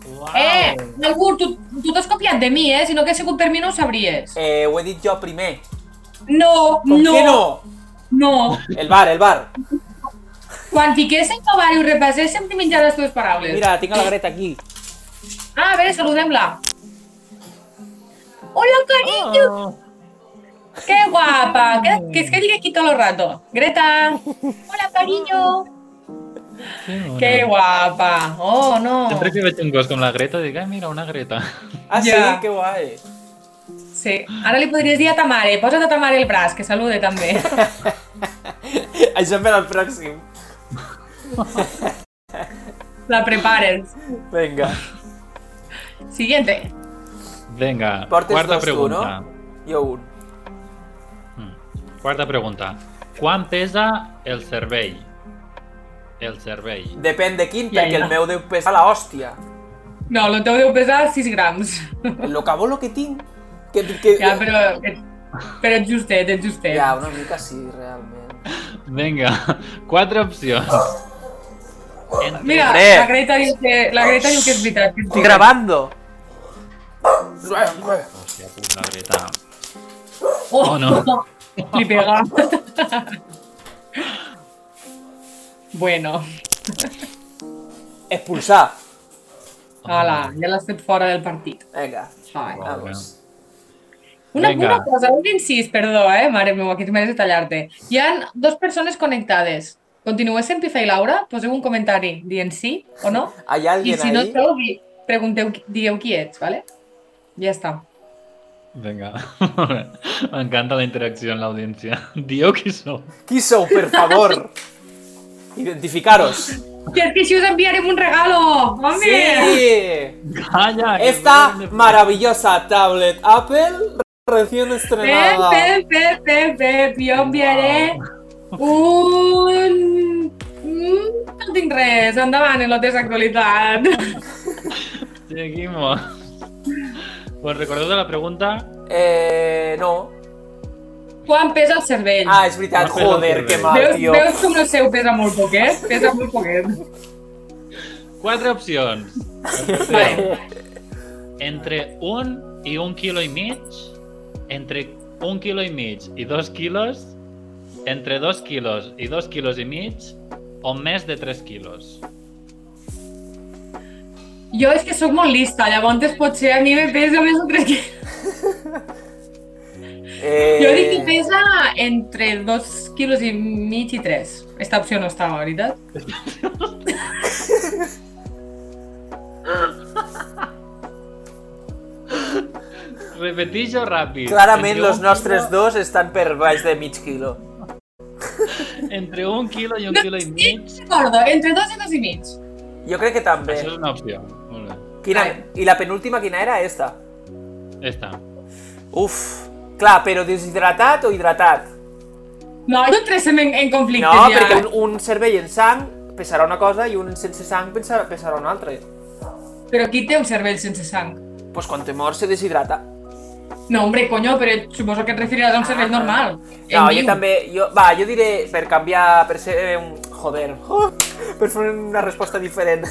Speaker 3: Wow.
Speaker 1: Eh, algú, tu tu t'has copiat de mi, eh? Si no hagués sigut per mi no ho sabries.
Speaker 2: Eh, ho he dit jo primer.
Speaker 1: No,
Speaker 2: Com
Speaker 1: no,
Speaker 2: que no?
Speaker 1: no.
Speaker 2: El bar, el bar.
Speaker 1: Quan fiquéssim el bar i ho repasséssim, t'hi menjaràs les teves paraules.
Speaker 2: Mira, tinc a la Greta aquí.
Speaker 1: Ah, a veure, saludem-la. Hola, cariño.
Speaker 3: Oh.
Speaker 1: Qué guapa. Que, que es que llegue aquí todo el rato. Greta. Hola, cariño.
Speaker 3: Que mona.
Speaker 1: Qué guapa. Oh, no.
Speaker 3: Sempre que veig un gos com la Greta, dic, ai, mira, una [LAUGHS] Greta.
Speaker 2: Ah, sí?
Speaker 1: Ja.
Speaker 2: Que [LAUGHS] guai.
Speaker 1: Sí. Ara li podries dir a ta mare, posa't a ta mare el braç, que salude també.
Speaker 2: Això per al pròxim.
Speaker 1: La prepares.
Speaker 2: Vinga.
Speaker 1: Siguiente.
Speaker 3: Vinga,
Speaker 2: Portes
Speaker 3: quarta
Speaker 2: dos
Speaker 3: pregunta.
Speaker 2: tu, no? Jo un.
Speaker 3: Mm. Quarta pregunta. Quan pesa el cervell? el cervell.
Speaker 2: Depèn de quin,
Speaker 1: Ja,
Speaker 2: perquè
Speaker 1: ja.
Speaker 2: el meu deu pesar la hòstia.
Speaker 1: No, el teu deu pesar 6 grams.
Speaker 2: Lo cabó lo que tinc. Que, que...
Speaker 1: Ja, però, però ets justet, ets justet.
Speaker 2: Ja, una mica sí, realment.
Speaker 3: [LAUGHS] Vinga, quatre opcions.
Speaker 1: Mira,
Speaker 2: Hombre.
Speaker 1: la Greta, diu que, la Greta diu que és veritat. Que és veritat.
Speaker 2: Gravando.
Speaker 3: Hòstia puta, Greta.
Speaker 1: Oh,
Speaker 3: Oh, no.
Speaker 1: [LAUGHS] Li pega. [LAUGHS] bueno,
Speaker 2: Expulsar.
Speaker 1: ala, ja l'has fet fora del partit.
Speaker 2: Vinga,
Speaker 1: Ai.
Speaker 2: vamos.
Speaker 1: Una,
Speaker 3: Vinga.
Speaker 1: una cosa, un incís, perdó, eh, mare meva, aquí m'he de tallar-te. Hi han dues persones connectades. Continueu sent Pifa i Laura? Poseu un comentari dient sí o no.
Speaker 2: Hay
Speaker 1: I
Speaker 2: alguien
Speaker 1: si no
Speaker 2: ahí?
Speaker 1: esteu, di- pregunteu, qui- digueu qui ets, vale? Ja està.
Speaker 3: [LAUGHS] Vinga. M'encanta la interacció en l'audiència. [LAUGHS] Dieu qui sou.
Speaker 2: Qui sou, per favor? Identificaros.
Speaker 1: I és que així us enviarem un regalo! Home!
Speaker 2: Sí.
Speaker 3: Calla! que
Speaker 2: Esta
Speaker 3: volem de-
Speaker 2: maravillosa tablet Apple recién
Speaker 1: Pep,
Speaker 2: estrenada.
Speaker 1: pep, pep, pep, pep, jo enviaré un... Mm, No tinc res, endavant, en l'hotel actualitat.
Speaker 3: Seguimos. [LAUGHS] Pues recordeu de la pregunta?
Speaker 2: Eh, no.
Speaker 1: Quan pesa el cervell?
Speaker 2: Ah, és veritat,
Speaker 3: No, però
Speaker 2: joder,
Speaker 3: no
Speaker 2: que
Speaker 3: té
Speaker 2: mal,
Speaker 1: veus,
Speaker 2: tio.
Speaker 1: veus com el seu pesa molt poquet? Pesa molt poquet.
Speaker 3: Quatre opcions.
Speaker 1: Vale.
Speaker 3: Entre un i un quilo i mig, entre un quilo i mig i dos quilos, entre dos quilos i dos quilos i mig, o més de tres quilos.
Speaker 1: Jo és que sóc molt lista, llavors potser a mi me pesa més un 3 quilos.
Speaker 2: Eh,
Speaker 1: Jo dic que pesa entre 2 quilos i mig i 3. Esta opció no està, la veritat.
Speaker 3: Repetixo ràpid.
Speaker 2: Clarament,
Speaker 3: Entre
Speaker 2: los
Speaker 3: un
Speaker 2: nostres dos estan per baix de mig quilo.
Speaker 3: quilo- Entre un quilo i un
Speaker 1: No,
Speaker 3: quilo i
Speaker 1: sí.
Speaker 3: mig,
Speaker 1: Recordo, entre 2 i 2 i mig.
Speaker 2: Jo crec que també.
Speaker 3: això és una opció. Molt bé.
Speaker 2: Quina...
Speaker 1: Vale.
Speaker 2: I la penúltima quina era? Esta.
Speaker 3: Esta.
Speaker 2: Uf. Clar, però deshidratat o hidratat?
Speaker 1: No, no entrem en, en conflictes
Speaker 2: No,
Speaker 1: ja.
Speaker 2: perquè un, un cervell en sang pesarà una cosa i un sense sang pesarà, pesarà una altra.
Speaker 1: Però qui té un cervell sense sang?
Speaker 2: pues quan te mors se deshidrata.
Speaker 1: No, hombre, coño, però suposo que et referiràs a un cervell normal.
Speaker 2: Ah, No,
Speaker 1: En
Speaker 2: jo
Speaker 1: viu.
Speaker 2: també... Jo, va, jo diré per canviar... Per ser un... Joder. Oh, per fer una resposta diferent.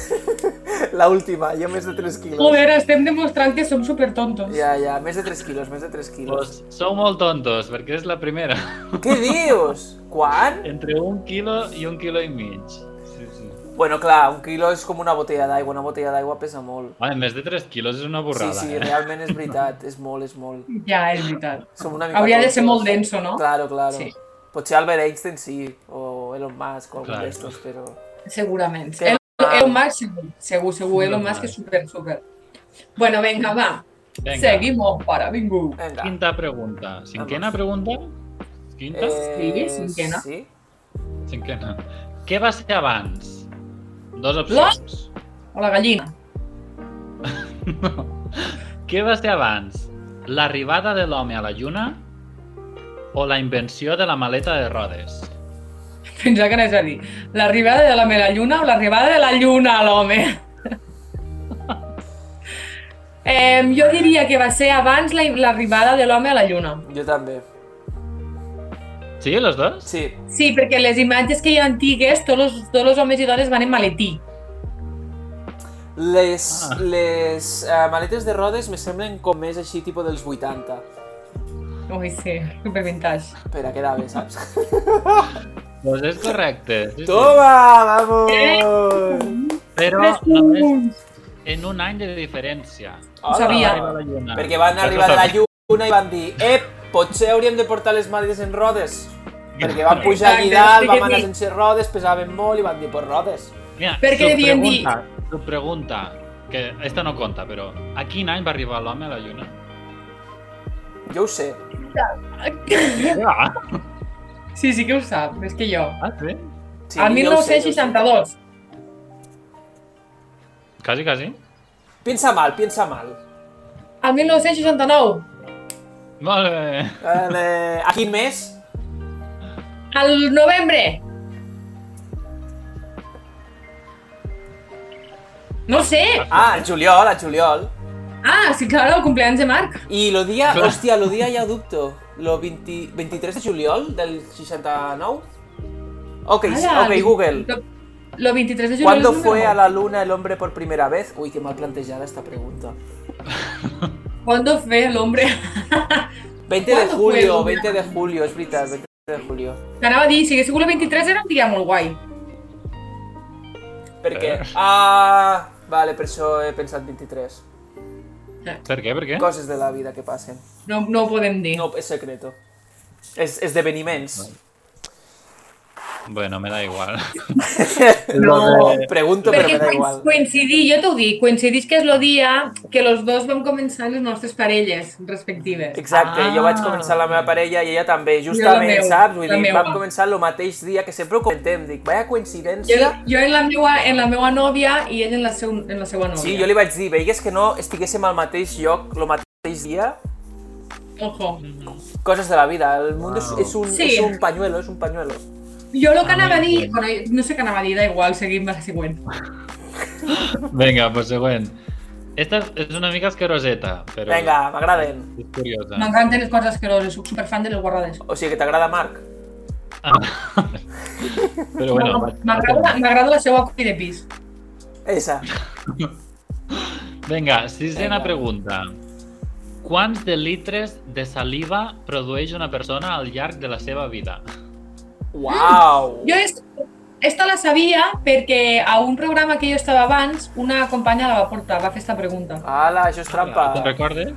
Speaker 2: [LAUGHS] la última, jo més de 3 quilos.
Speaker 1: Joder, estem demostrant que som supertontos.
Speaker 2: Ja, ja, més de 3 quilos, més de 3 quilos.
Speaker 3: Pues sou molt tontos, perquè és la primera. [LAUGHS]
Speaker 2: Què dius? Quan?
Speaker 3: Entre un quilo i un quilo i mig. Sí, sí.
Speaker 2: Bueno, clar, un quilo és com una botella d'aigua, una botella d'aigua pesa molt.
Speaker 3: Vale, més de 3 quilos és una
Speaker 2: Sí,
Speaker 3: borrada,
Speaker 2: sí,
Speaker 3: eh?
Speaker 2: realment és veritat, és molt, és molt.
Speaker 1: Ja, és veritat.
Speaker 2: Som una mica
Speaker 1: Hauria de ser
Speaker 2: tontos.
Speaker 1: molt denso, no?
Speaker 2: Claro, claro.
Speaker 1: Sí.
Speaker 2: Potser Albert Einstein sí, o Elon Musk o algun
Speaker 3: Claro.
Speaker 2: d'estos, però...
Speaker 1: Segurament.
Speaker 2: Que
Speaker 1: El,
Speaker 2: mal.
Speaker 1: Elon Musk, segur, segur, segur. Elon
Speaker 3: Normal.
Speaker 1: Musk és super, super. Bueno, venga, va.
Speaker 3: Vinga.
Speaker 1: Seguimos, para, bingo.
Speaker 2: Vinga.
Speaker 3: Quinta pregunta. Cinquena pregunta? Quinta? Eh...
Speaker 1: Sí, cinquena.
Speaker 2: Sí?
Speaker 3: Cinquena. Què va ser abans? Dos opcions.
Speaker 1: O la gallina.
Speaker 3: Què va ser abans? L'arribada de l'home a la lluna o la invenció de la maleta de rodes?
Speaker 1: Pensava que anaves a dir l'arribada de la meva lluna o l'arribada de la lluna a [LAUGHS] l'home. eh, jo diria que va ser abans la- l'arribada de l'home a la lluna.
Speaker 2: Jo també.
Speaker 3: Sí, los dos?
Speaker 2: Sí.
Speaker 1: Sí, perquè les imatges que hi ha antigues, tots els, tots els homes i dones van en maletí.
Speaker 2: Les,
Speaker 3: Ah.
Speaker 2: les uh, maletes de rodes me semblen com més així, tipus dels 80.
Speaker 1: Ui, sí, super vintage.
Speaker 2: Per a quedar bé, saps?
Speaker 3: Doncs és correcte. Sí, sí.
Speaker 2: Toma,
Speaker 1: Eh?
Speaker 2: vamos!
Speaker 3: Però
Speaker 1: Tres
Speaker 3: només
Speaker 1: punts.
Speaker 3: en un any de diferència.
Speaker 1: Ho sabia.
Speaker 3: Arriba la lluna.
Speaker 2: Perquè van
Speaker 3: Això
Speaker 2: arribar de
Speaker 3: ho
Speaker 2: la
Speaker 3: sabia.
Speaker 2: lluna i van dir Ep, potser hauríem de portar les maletes en rodes. Perquè van pujar allí
Speaker 1: Exacte,
Speaker 2: dalt,
Speaker 1: sí
Speaker 2: vam
Speaker 1: que
Speaker 2: anar
Speaker 1: sí.
Speaker 2: sense rodes, pesaven molt i van dir, pues rodes.
Speaker 3: Mira,
Speaker 1: Perquè
Speaker 3: su
Speaker 1: devien
Speaker 3: pregunta, su pregunta, que esta no conta, però a quin any va arribar l'home a la lluna?
Speaker 1: [LAUGHS]
Speaker 2: Jo ho sé.
Speaker 3: Ja.
Speaker 1: Sí, sí que ho sap, més que jo.
Speaker 3: Ah, sí?
Speaker 1: Sí,
Speaker 2: Sí,
Speaker 1: el
Speaker 2: jo ho sé, jo ho sé.
Speaker 1: 1962.
Speaker 3: Quasi, quasi.
Speaker 2: Pensa mal, pensa mal.
Speaker 1: El 1969.
Speaker 3: Molt bé.
Speaker 2: Vale. Eh, A quin mes?
Speaker 1: Al novembre. No ho sé!
Speaker 2: Ah, al juliol, al juliol.
Speaker 1: Ah, sí, claro, el cumpleaños de Marc.
Speaker 2: I lo dia,
Speaker 3: Clar.
Speaker 2: hòstia, lo dia ja ho dubto. Lo 20, 23 de juliol del 69? Ok,
Speaker 1: Ala,
Speaker 2: ok,
Speaker 1: el-
Speaker 2: Google.
Speaker 1: Lo, lo 23 de julio.
Speaker 2: ¿Cuándo
Speaker 1: es
Speaker 2: fue
Speaker 1: número
Speaker 2: a la luna el hombre por primera vez? Uy, qué mal planteada esta pregunta.
Speaker 1: uno. ¿Cuándo fue el hombre? [LAUGHS]
Speaker 2: 20
Speaker 1: ¿Cuándo
Speaker 2: de
Speaker 1: fue el
Speaker 2: julio,
Speaker 1: hombre?
Speaker 2: 20 de julio, es veritat, 20 de julio.
Speaker 1: T'anava a dir, si hagués sigut el 23 era un dia molt guai.
Speaker 2: Perquè... Ah, vale, per això he pensat 23.
Speaker 3: Per què? Per què?
Speaker 2: Coses de la vida que passen.
Speaker 1: No, no ho podem dir.
Speaker 2: No, és secreto. És esdeveniments.
Speaker 3: Bueno, me da igual. [LAUGHS]
Speaker 1: No.
Speaker 2: Pregunto, però
Speaker 1: Perquè
Speaker 2: me da
Speaker 1: coinc-
Speaker 2: igual.
Speaker 1: coincidir, jo t'ho dic, coincidís que és el dia que los dos vam començar les nostres parelles respectives.
Speaker 2: Exacte, ah. jo vaig començar la meva parella i ella també, justament,
Speaker 1: meva,
Speaker 2: saps? Vull
Speaker 1: la
Speaker 2: dir,
Speaker 1: meva.
Speaker 2: vam començar el mateix dia, que sempre ho comentem, dic, vaya
Speaker 1: Jo,
Speaker 2: coincidència.
Speaker 1: jo en, la meua, en la meua nòvia i ell en la, seu, en la seva nòvia.
Speaker 2: Sí, jo li vaig dir, veigues que no estiguéssim al mateix lloc el mateix dia,
Speaker 1: Ojo.
Speaker 2: coses de la vida, el món és,
Speaker 3: Wow.
Speaker 2: és, un,
Speaker 1: Sí.
Speaker 2: és un pañuelo, és un pañuelo.
Speaker 1: Jo el que
Speaker 3: Ah,
Speaker 1: anava a dir...
Speaker 3: bueno.
Speaker 1: Bueno, no sé què anava a dir, da igual, seguim a la següent.
Speaker 3: Vinga, pues següent. Esta és una mica esqueroseta, però...
Speaker 2: Vinga, m'agraden.
Speaker 3: És curiosa.
Speaker 1: M'encanten les coses asqueroses, soc superfan de les guarrades.
Speaker 2: O sigui que t'agrada Marc.
Speaker 3: Però bueno, vaig-
Speaker 1: M'agrada m'agrada la seva copi de pis.
Speaker 2: Esa.
Speaker 3: Vinga, sisena
Speaker 2: Vinga.
Speaker 3: pregunta. Quants de litres de saliva produeix una persona al llarg de la seva vida?
Speaker 2: Uau!
Speaker 1: Mm, Jo est- esta la sabia perquè a un programa que jo estava abans, una companya la va portar, va fer esta pregunta.
Speaker 2: Ala, això és trampa.
Speaker 3: Te'n recordes?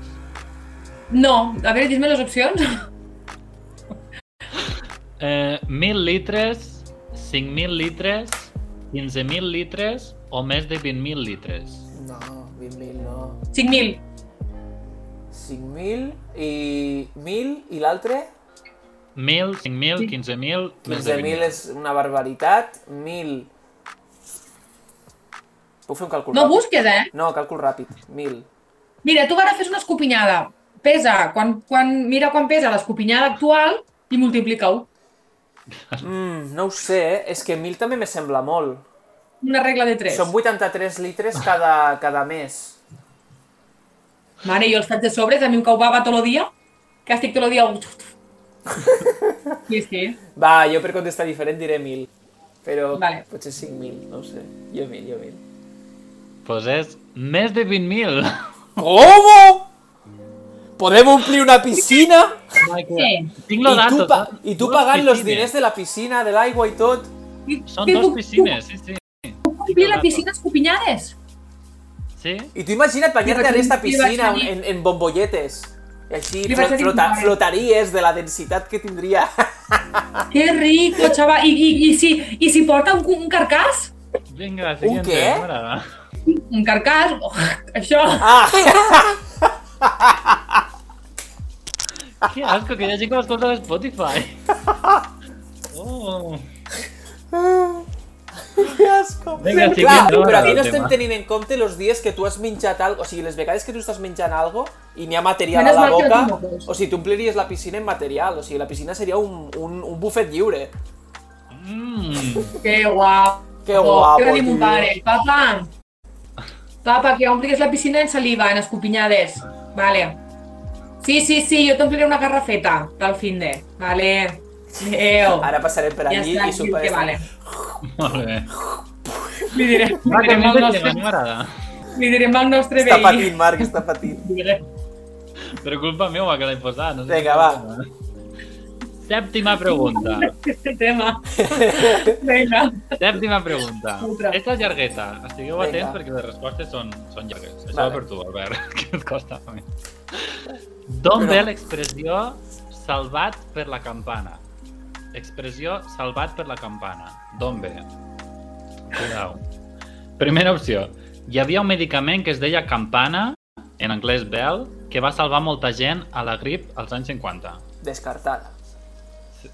Speaker 1: No, a veure, dis-me les opcions. [LAUGHS]
Speaker 3: Eh, 1.000 litres, 5.000 litres, 15.000 litres o més de 20.000 litres?
Speaker 2: No, 20.000 no.
Speaker 1: 5.000.
Speaker 2: 5.000 i 1.000 i l'altre?
Speaker 3: 1.000, 5.000, 15.000, més de
Speaker 2: 15.000
Speaker 3: 20.000.
Speaker 2: és una barbaritat, 1.000... Puc fer un càlcul
Speaker 1: No
Speaker 2: ràpid?
Speaker 1: busques, eh?
Speaker 2: No, càlcul ràpid, 1.000.
Speaker 1: Mira, tu ara fes una escopinyada. Pesa, quan, quan, mira quan pesa l'escopinyada actual i multiplica-ho.
Speaker 3: Ah.
Speaker 2: Mm, no ho sé, eh? és que 1.000 també me sembla molt.
Speaker 1: Una regla de tres.
Speaker 2: Són 83 litres cada, cada mes.
Speaker 1: Mare, jo els faig de sobres, a mi em cau bava tot el dia, que estic tot el dia... Sí, sí.
Speaker 2: Va, jo per contestar diferent diré 1.000. Però
Speaker 1: Vale.
Speaker 2: potser 5.000, no ho sé. Jo 1.000, jo 1.000.
Speaker 3: Pues és més de 20.000.
Speaker 2: ¿Cómo? ¿Podem omplir una piscina?
Speaker 1: Sí.
Speaker 3: Tinc lo
Speaker 2: I tu,
Speaker 3: dato.
Speaker 2: pa
Speaker 3: saps?
Speaker 2: i tu
Speaker 3: Dues
Speaker 2: pagant los
Speaker 3: piscines.
Speaker 2: diners de la piscina, de l'aigua i tot.
Speaker 3: Són dos piscines, sí, sí.
Speaker 1: Puc complir la piscina escopinyades?
Speaker 3: Sí?
Speaker 2: I tu imagina't banyar-te en
Speaker 1: vaig-
Speaker 2: esta
Speaker 1: li vaig
Speaker 2: piscina
Speaker 1: dir-
Speaker 2: en, en bombolletes. I així
Speaker 1: Li vaig
Speaker 2: flot,
Speaker 1: dir-
Speaker 2: flota, flotaries de la densitat que tindria. [LAUGHS]
Speaker 1: Que rico, xaval. I, i, i, si, I si porta un, un carcàs?
Speaker 3: Vinga, siguiente.
Speaker 2: què?
Speaker 3: m'agrada.
Speaker 1: Un [LAUGHS] carcàs? Oh, això.
Speaker 2: Ah,
Speaker 3: Que asco, que hi ha gent que l'escolta a
Speaker 2: [LAUGHS]
Speaker 3: Spotify. Oh.
Speaker 2: que asco.
Speaker 3: Vinga, sí,
Speaker 2: Clar,
Speaker 3: vinga, no
Speaker 2: però
Speaker 3: m'agrada
Speaker 2: aquí no
Speaker 3: el
Speaker 2: estem
Speaker 3: tema.
Speaker 2: tenint en compte els dies que tu has menjat algo, o sigui, les vegades que tu estàs menjant algo i n'hi ha material
Speaker 1: Menos
Speaker 2: a la
Speaker 1: mal que no tinc
Speaker 2: boca,
Speaker 1: mocos.
Speaker 2: o sigui, tu ompliries la piscina en material, o sigui, la piscina seria un, un, un bufet lliure.
Speaker 3: Mm.
Speaker 1: Que guapo.
Speaker 2: Que guapo,
Speaker 1: Què va dir mon
Speaker 2: tio.
Speaker 1: pare? Papa, papa, que ompligues la piscina en saliva, en escopinyades. Vale. Sí, sí, sí, jo t'ompliré una garrafeta pel fin de. Vale.
Speaker 2: [LAUGHS]
Speaker 1: Adéu.
Speaker 2: Ara passarem per
Speaker 1: Ja
Speaker 2: allí
Speaker 1: està,
Speaker 2: i super...
Speaker 1: que
Speaker 2: [LAUGHS]
Speaker 1: vale.
Speaker 3: Molt bé.
Speaker 1: Li direm,
Speaker 3: Va,
Speaker 1: li
Speaker 3: que
Speaker 1: direm,
Speaker 3: més
Speaker 1: al
Speaker 3: de
Speaker 1: nostre,
Speaker 3: tema, m'agrada.
Speaker 1: li direm al nostre
Speaker 2: Està
Speaker 1: veí.
Speaker 2: patint, Marc, està patint.
Speaker 1: Li direm.
Speaker 3: Per culpa meva que l'he posat. No sé
Speaker 2: Vinga,
Speaker 3: què
Speaker 2: va.
Speaker 3: passa. Sèptima pregunta.
Speaker 1: Este
Speaker 2: [LAUGHS]
Speaker 1: tema. Vinga.
Speaker 3: Sèptima pregunta.
Speaker 1: Otra.
Speaker 3: Esta és llargueta. Estigueu
Speaker 2: Vinga.
Speaker 3: atents perquè les respostes són, són llargues. Això
Speaker 2: Vale.
Speaker 3: va per tu, Albert, [LAUGHS] que et costa a mi. D'on
Speaker 2: Però-
Speaker 3: ve l'expressió salvat per la campana? Expressió salvat per la campana. D'on ve? Cuidao. Primera opció. Hi havia un medicament que es deia campana, en anglès bell, que va salvar molta gent a la grip als anys 50.
Speaker 2: Descartada.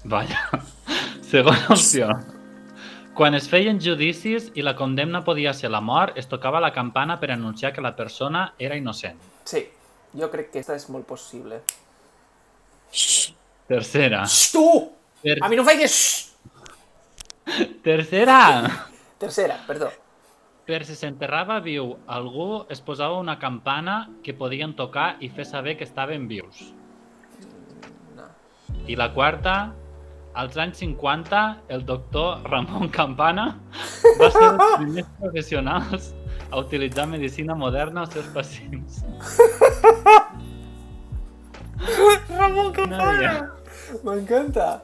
Speaker 3: Vaja. [LAUGHS] Segona opció. Quan es feien judicis i la condemna podia ser la mort, es tocava la campana per anunciar que la persona era innocent.
Speaker 2: Sí, jo crec que aquesta és molt possible.
Speaker 3: Tercera.
Speaker 2: Xx, tu!
Speaker 3: Ter
Speaker 2: A mi no em facis... xx!
Speaker 3: tercera!
Speaker 2: Tercera, perdó.
Speaker 3: Per si s'enterrava viu, algú es posava una campana que podien tocar i fer saber que estaven vius.
Speaker 2: No.
Speaker 3: I la quarta, als anys 50, el doctor Ramon Campana va ser un dels primers professionals a utilitzar medicina moderna als seus pacients.
Speaker 2: Ramon
Speaker 3: Campana.
Speaker 2: M'encanta.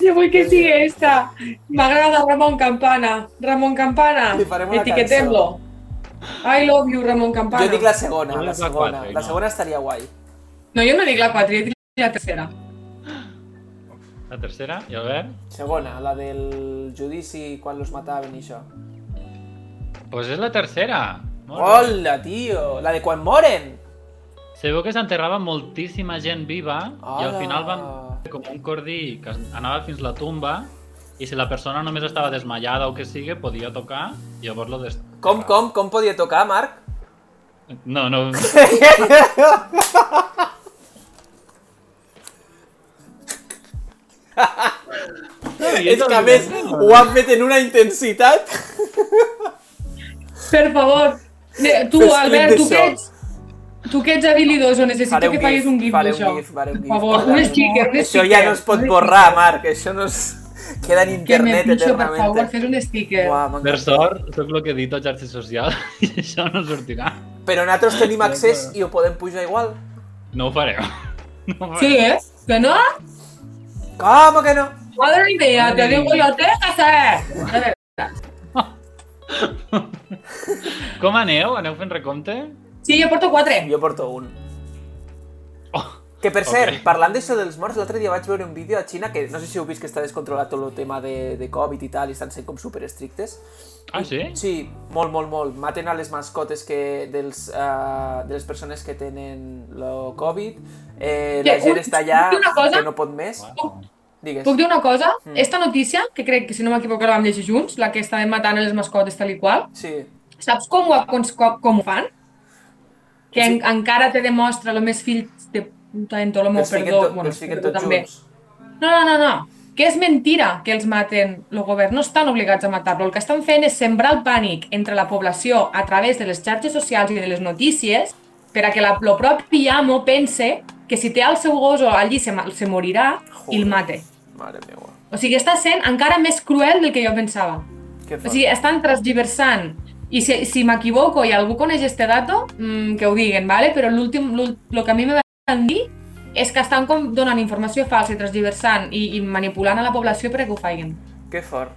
Speaker 1: Yo voy que sigue esta. Me agrada Ramón Campana. Ramón Campana.
Speaker 2: Li farem una
Speaker 1: Etiquetemlo. I love you, Ramon Campana.
Speaker 2: Jo dic la segona,
Speaker 3: No
Speaker 2: la
Speaker 3: és la
Speaker 2: segona.
Speaker 3: quatre,
Speaker 2: La
Speaker 3: no.
Speaker 2: segona estaria guai.
Speaker 1: No, yo no digo la cuatro, yo digo la tercera.
Speaker 3: La tercera, i Albert?
Speaker 2: Segona, la del judici quan los mataven i això.
Speaker 3: Doncs pues és la tercera. Molt bé.
Speaker 2: Hola, tio! La de quan moren!
Speaker 3: Se veu que s'enterrava moltíssima gent viva i al
Speaker 2: Hola.
Speaker 3: final van fer com un cordill que anava fins la tumba i si la persona només estava desmaiada o que sigui, podia tocar i llavors lo dest...
Speaker 2: Com, com, com podia tocar, Marc?
Speaker 3: No, no...
Speaker 2: [LAUGHS] És que a més ho han fet en una intensitat.
Speaker 1: Per favor. Ne- Tu,
Speaker 2: Fes
Speaker 1: Albert,
Speaker 2: clip
Speaker 1: tu
Speaker 2: d'això.
Speaker 1: que ets... Tu que ets habilidoso, necessito
Speaker 2: Faré un
Speaker 1: que facis
Speaker 2: gif,
Speaker 1: un gif
Speaker 2: faré un
Speaker 1: d'això.
Speaker 2: gif, faré un
Speaker 1: Per
Speaker 2: gif.
Speaker 1: favor,
Speaker 2: Hola.
Speaker 1: un sticker, un
Speaker 2: Això
Speaker 1: sticker.
Speaker 2: ja no es pot
Speaker 1: un
Speaker 2: borrar, Marc. Això no es... Queda
Speaker 1: sticker. Que
Speaker 2: en
Speaker 1: me
Speaker 2: internet
Speaker 1: pinxo, per favor,
Speaker 2: eternament.
Speaker 1: fes un sticker.
Speaker 2: Uah, m'encanta.
Speaker 3: Per sort, sóc el que he dit a xarxes socials [LAUGHS] i això no sortirà.
Speaker 2: Però nosaltres tenim accés i ho podem pujar igual.
Speaker 3: No ho fareu. No ho
Speaker 1: Sí,
Speaker 3: fareu.
Speaker 1: eh? Que no?
Speaker 2: Com que no?
Speaker 1: Madre idea, te digo yo, te que saber. A veure,
Speaker 3: Com aneu? Aneu fent recompte?
Speaker 1: Sí, jo porto quatre.
Speaker 2: Jo porto un.
Speaker 3: Oh,
Speaker 2: Que per cert,
Speaker 3: Ok.
Speaker 2: parlant d'això dels morts, l'altre dia vaig veure un vídeo a Xina que no sé si heu vist que està descontrolat tot el tema de, de Covid i tal i estan sent com superestrictes.
Speaker 3: ah, sí?
Speaker 2: Sí, molt, molt, molt. Maten a les mascotes que, dels, uh, de les persones que tenen el Covid. Eh, la
Speaker 1: Que,
Speaker 2: gent
Speaker 1: ui,
Speaker 2: està allà
Speaker 1: puc dir una cosa?
Speaker 2: que no pot més.
Speaker 3: Uau.
Speaker 2: Digues.
Speaker 1: Puc dir una cosa?
Speaker 2: Mm.
Speaker 1: Esta notícia, que crec que si no m'equivoco la vam llegir junts, la que estaven matant a les mascotes tal i qual,
Speaker 2: Sí.
Speaker 1: saps com ho, com, com, com ho fan? Que en,
Speaker 2: Sí.
Speaker 1: encara te demostra el més fill de puta en tot el meu
Speaker 2: els fiquen,
Speaker 1: perdó.
Speaker 2: tot,
Speaker 1: bueno,
Speaker 2: els fiquen
Speaker 1: perdó
Speaker 2: tots
Speaker 1: també.
Speaker 2: junts.
Speaker 1: No, no, no, no. Que és mentira que els maten. El govern no estan obligats a matar-lo. El que estan fent és sembrar el pànic entre la població a través de les xarxes socials i de les notícies per a que la, el propi amo pense que si té el seu gos allí se, ma- se morirà i el
Speaker 2: Joder.
Speaker 1: mate.
Speaker 2: Mare meva.
Speaker 1: O sigui, està sent encara més cruel del que jo pensava.
Speaker 2: Què
Speaker 1: O
Speaker 2: fa?
Speaker 1: sigui, estan transgiversant. I si, si m'equivoco i algú coneix este dato, mmm, que ho diguen, ¿vale? però l'últim, el que a mi me van dir és que estan com donant informació falsa i transgiversant i, i manipulant a la població perquè ho facin.
Speaker 2: Que fort.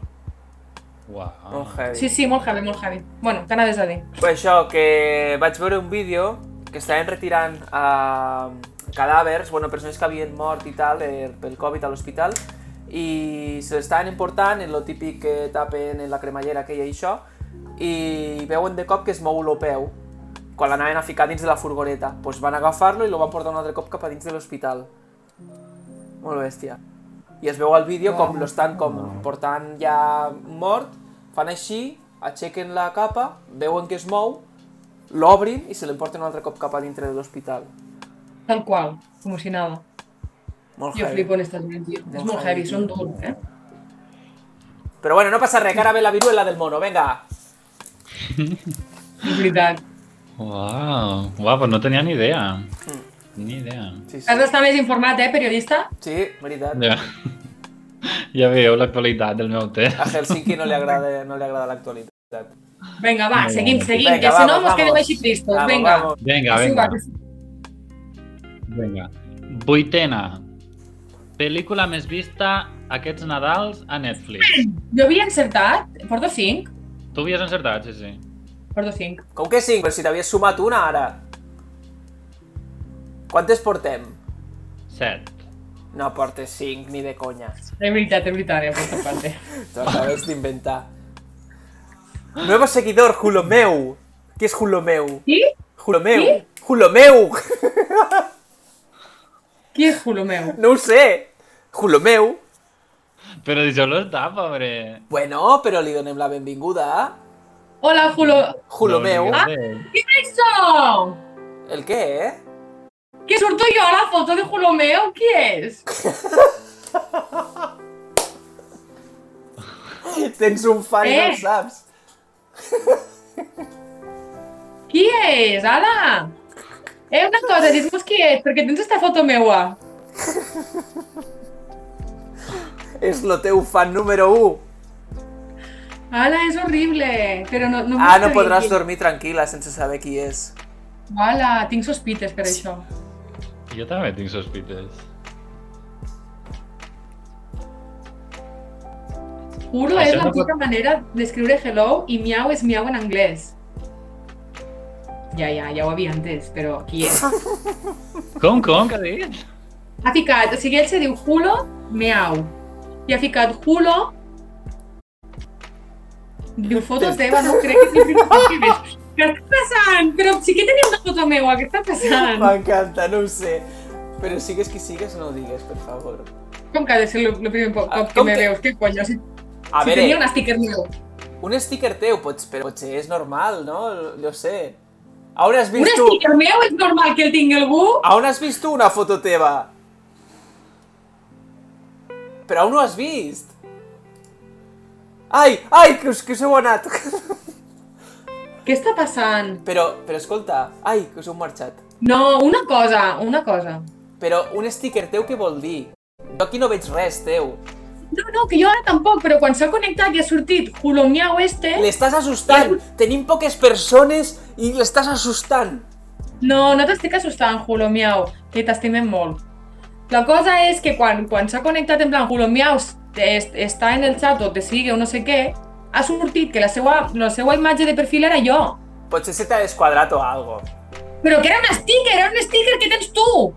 Speaker 3: Uau.
Speaker 2: Molt heavy.
Speaker 1: Sí, sí, molt heavy, molt heavy. Bueno, què anaves a dir?
Speaker 2: Però això, que vaig veure un vídeo que estaven retirant eh, cadàvers, bueno, persones que havien mort i tal eh, pel Covid a l'hospital i se l'estaven emportant en lo típic que tapen en la cremallera aquella i això i veuen de cop que es mou lo peu quan l'anaven a ficar dins de la furgoneta. Doncs pues van agafar-lo i lo van portar un altre cop cap a dins de l'hospital. Molt bèstia. I es veu al vídeo com l'estan com portant ja mort, fan així, aixequen la capa, veuen que es mou, l'obrin i se l'emporten un altre cop cap a dintre de l'hospital.
Speaker 1: Tal qual, com si nada.
Speaker 2: Molt
Speaker 1: Jo
Speaker 2: heavy.
Speaker 1: flipo en estas gent, tio. És molt heavy, són durs, eh?
Speaker 2: Però bueno, no passa res, que ara ve la viruela del mono, venga.
Speaker 1: És veritat.
Speaker 3: Uau. Uau, però no tenia ni idea. Ni idea.
Speaker 2: Mm. Sí, sí.
Speaker 1: Has d'estar més informat, eh, periodista?
Speaker 2: Sí, veritat.
Speaker 3: Ja, [LAUGHS] ja veieu l'actualitat del meu té.
Speaker 2: A Helsinki no li agrada, no li agrada l'actualitat.
Speaker 1: Venga, va,
Speaker 3: Vinga.
Speaker 1: seguim, seguim,
Speaker 2: Venga,
Speaker 1: que si no
Speaker 2: vamos,
Speaker 1: mos quedem
Speaker 2: vamos.
Speaker 1: així tristos.
Speaker 2: Vamos,
Speaker 1: Venga.
Speaker 2: vamos.
Speaker 3: Vinga,
Speaker 1: Sí,
Speaker 3: vinga.
Speaker 1: va, que sí.
Speaker 3: Vinga. Vuitena. Pel·lícula més vista aquests Nadals a Netflix.
Speaker 1: Jo havia encertat, porto 5,
Speaker 3: Tu havies encertat, sí, sí.
Speaker 1: porto 5.
Speaker 2: Com que 5? Però si t'havies sumat una ara. Quantes portem?
Speaker 3: Set.
Speaker 2: No portes 5, ni de conya.
Speaker 1: De veritat, de veritat, ja porto quatre.
Speaker 2: Te lo acabes d'inventar. Nuevo seguidor, Julomeu. Qui és Julomeu?
Speaker 1: Qui?
Speaker 2: Julomeu.
Speaker 1: Qui?
Speaker 2: Julomeu.
Speaker 1: Qui és culo meu?
Speaker 2: No ho sé. Julomeu.
Speaker 3: Però deixeu-lo estar, pobre.
Speaker 2: Bueno, però li donem la benvinguda a
Speaker 1: Hola, Julo...
Speaker 2: Julomeu.
Speaker 1: Ah!
Speaker 3: No, digues
Speaker 1: Qui és això?
Speaker 2: El què, eh?
Speaker 1: Que surto jo a la foto de Julo meu? Qui és?
Speaker 2: Tens un fan i no
Speaker 1: Eh.
Speaker 2: el saps.
Speaker 1: Qui és, Ada? Eh, una cosa, dis-nos qui ets, perquè tens esta foto meua.
Speaker 2: És lo teu fan número 1.
Speaker 1: Ala, és horrible, però no... no
Speaker 2: Ah, no podràs dormir tranquil·la sense saber qui és.
Speaker 1: Ala, tinc sospites per això.
Speaker 3: Jo també tinc sospites.
Speaker 1: Urla
Speaker 3: Això
Speaker 1: és la
Speaker 3: no pot-
Speaker 1: puta manera d'escriure hello i miau és miau en anglès. Ja, ja, ja ho havia entès, però qui és?
Speaker 3: Com, com, que ha dit?
Speaker 1: Ha ficat, o sigui, ell se diu Julo Meau. I ha ficat Julo... Diu fotos teva, no crec que sigui que veig. Què està passant? Però sí que tenia una foto meua, què està passant?
Speaker 2: M'encanta, no ho sé. Però sigues qui sigues, no ho digues, per favor.
Speaker 1: Com que ha de ser el primer po-
Speaker 2: Ah,
Speaker 1: cop que
Speaker 2: com
Speaker 1: me
Speaker 2: que-
Speaker 1: veus? Què coño? Si,
Speaker 2: A
Speaker 1: si tenia un sticker meu.
Speaker 2: un sticker teu, pots, però potser és normal, no? Jo sé. A on has
Speaker 1: Un
Speaker 2: vist tu? Ah.
Speaker 1: sticker meu és normal que el tingui algú?
Speaker 2: A on has vist tu una foto teva? Però on ho has vist? Ai, ai, que us, que us heu anat! [LAUGHS]
Speaker 1: Què està passant?
Speaker 2: Però, però escolta, ai, que us heu marxat.
Speaker 1: No, una cosa, una cosa.
Speaker 2: Però un sticker teu què vol dir? Jo aquí no veig res teu.
Speaker 1: No, no, que jo ara tampoc, però quan s'ha connectat i ha sortit Julo Miau este...
Speaker 2: L'estàs assustant!
Speaker 1: Eh?
Speaker 2: Tenim poques persones i l'estàs assustant!
Speaker 1: No, no t'estic assustant, Julo Miau, que t'estimem molt. La cosa és que quan, quan s'ha connectat en plan Julo Miau es- està en el xat o te sigue o no sé què, ha sortit que la seva, la seva imatge de perfil era jo.
Speaker 2: Potser se t'ha desquadrat o algo.
Speaker 1: Però que era un sticker, era un sticker que tens tu!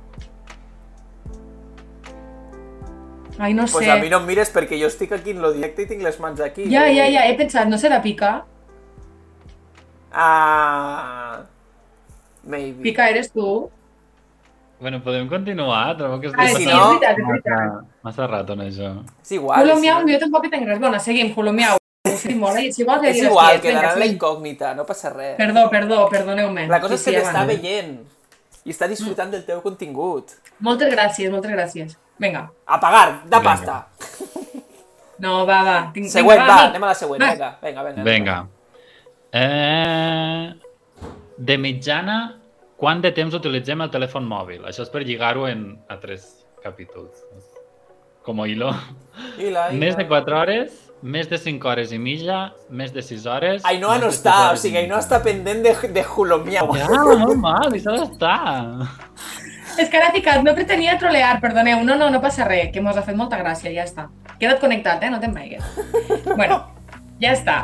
Speaker 1: Ai, no
Speaker 2: Doncs
Speaker 1: sé.
Speaker 2: pues a mi no em mires perquè jo estic aquí en lo directe i tinc les mans aquí.
Speaker 1: Ja, ja, ja, he pensat, no serà Pica?
Speaker 2: Ah... Maybe.
Speaker 1: Pica eres tu?
Speaker 3: Bueno, podem continuar? Trobo que
Speaker 1: Ah,
Speaker 2: si
Speaker 1: sí,
Speaker 2: no-
Speaker 1: és veritat, és
Speaker 3: massa,
Speaker 1: veritat.
Speaker 3: massa rato en això.
Speaker 2: És igual.
Speaker 1: Julo
Speaker 2: és
Speaker 1: Miau,
Speaker 2: igual.
Speaker 1: jo tampoc hi tinc res. Bona, seguim, Julo
Speaker 2: [LAUGHS]
Speaker 1: Miau. Ho sé molt, eh? Si vols, li
Speaker 2: És
Speaker 1: diràs qui
Speaker 2: igual,
Speaker 1: és, vinga,
Speaker 2: quedarà en la
Speaker 1: seguim.
Speaker 2: incògnita, no passa res.
Speaker 1: Perdó, perdó, perdoneu-me.
Speaker 2: La cosa és que t'està
Speaker 1: abans.
Speaker 2: veient i està disfrutant del teu contingut.
Speaker 1: Moltes gràcies, moltes gràcies. Vinga.
Speaker 2: A pagar, de
Speaker 3: Vinga.
Speaker 2: pasta.
Speaker 1: No, va, va. Tinc,
Speaker 2: Següent,
Speaker 1: vinga,
Speaker 2: va,
Speaker 1: amic.
Speaker 2: anem a la següent,
Speaker 1: Va.
Speaker 2: vinga, vinga, vinga.
Speaker 3: Vinga. Eh, de mitjana, quant de temps utilitzem el telèfon mòbil? Això és per lligar-ho en a tres capítols. Com a hilo.
Speaker 2: Hila, hila.
Speaker 3: Més de 4 hores, més de 5 hores i mitja, més de 6 hores...
Speaker 2: Ainhoa
Speaker 3: més
Speaker 2: no
Speaker 3: de set
Speaker 2: està, o
Speaker 3: hores i
Speaker 2: sigui, Ainhoa
Speaker 3: mitja.
Speaker 2: està pendent de, de Julomiau.
Speaker 3: Ja, molt mal, i s'ha d'estar.
Speaker 1: És que ara he ficat, no pretenia trolear, perdoneu. No, no, no passa res, que mos ha fet molta gràcia, ja està. Queda't connectat, eh? No te'n vaigues. bueno, ja
Speaker 2: [LAUGHS]
Speaker 1: està.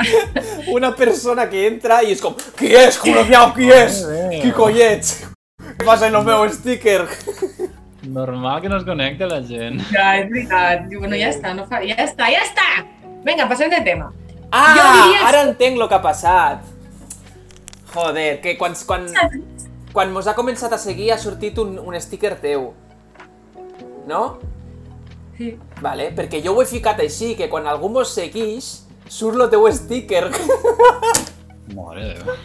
Speaker 2: Una persona que entra i és com Qui és, Julomiau, qui és?
Speaker 3: Joder.
Speaker 2: Qui coi ets? Què passa en el meu sticker?
Speaker 3: Normal que no es connecti la gent.
Speaker 1: Ja, és veritat. Diu, Bueno, ja està, no fa... Ja està, ja està! Vinga, passem de tema.
Speaker 2: Ah,
Speaker 1: diria-
Speaker 2: ara entenc lo que ha passat. Joder, que quan, quan, quan mos ha començat a seguir ha sortit un, un sticker teu. No?
Speaker 1: Sí.
Speaker 2: Vale, perquè jo ho he ficat així, que quan algú mos seguix, surt lo teu sticker. [LAUGHS]
Speaker 3: Mare de Déu.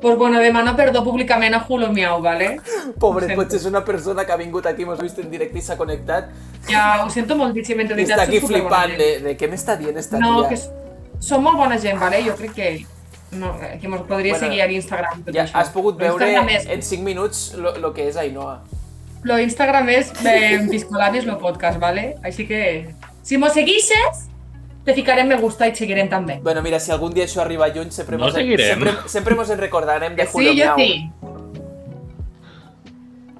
Speaker 1: Pues bueno, demano perdó públicament a Julo Miau, vale?
Speaker 2: Pobre,
Speaker 1: Ho sento.
Speaker 2: potser és una persona que ha vingut aquí, mos ha vist en directe i s'ha connectat
Speaker 1: Ja ho sento moltíssim, en
Speaker 2: i
Speaker 1: realitat.
Speaker 2: està aquí
Speaker 1: sou superbona
Speaker 2: flipant eh?
Speaker 1: gent.
Speaker 2: de, de què m'està dient esta
Speaker 1: No,
Speaker 2: tia.
Speaker 1: que s- som molt bona gent, vale? Jo crec que no, eh, que mos podria
Speaker 2: Bueno,
Speaker 1: bueno, seguir a l'Instagram. tot
Speaker 2: Ja
Speaker 1: això.
Speaker 2: has pogut
Speaker 1: Però
Speaker 2: veure
Speaker 1: Instagram és,
Speaker 2: en 5 minuts lo, lo que és Ainhoa.
Speaker 1: lo Instagram és eh, Piscolabis, lo podcast, vale? Així que, si mos seguixes, te ficarem me gusta i et seguirem també.
Speaker 2: Bueno, mira, si algun dia això arriba lluny, sempre
Speaker 3: No
Speaker 2: mos en,
Speaker 3: seguirem.
Speaker 2: sempre, sempre mos en recordarem de
Speaker 1: Que
Speaker 2: Julio
Speaker 1: Eh, sí, jo
Speaker 2: Miau.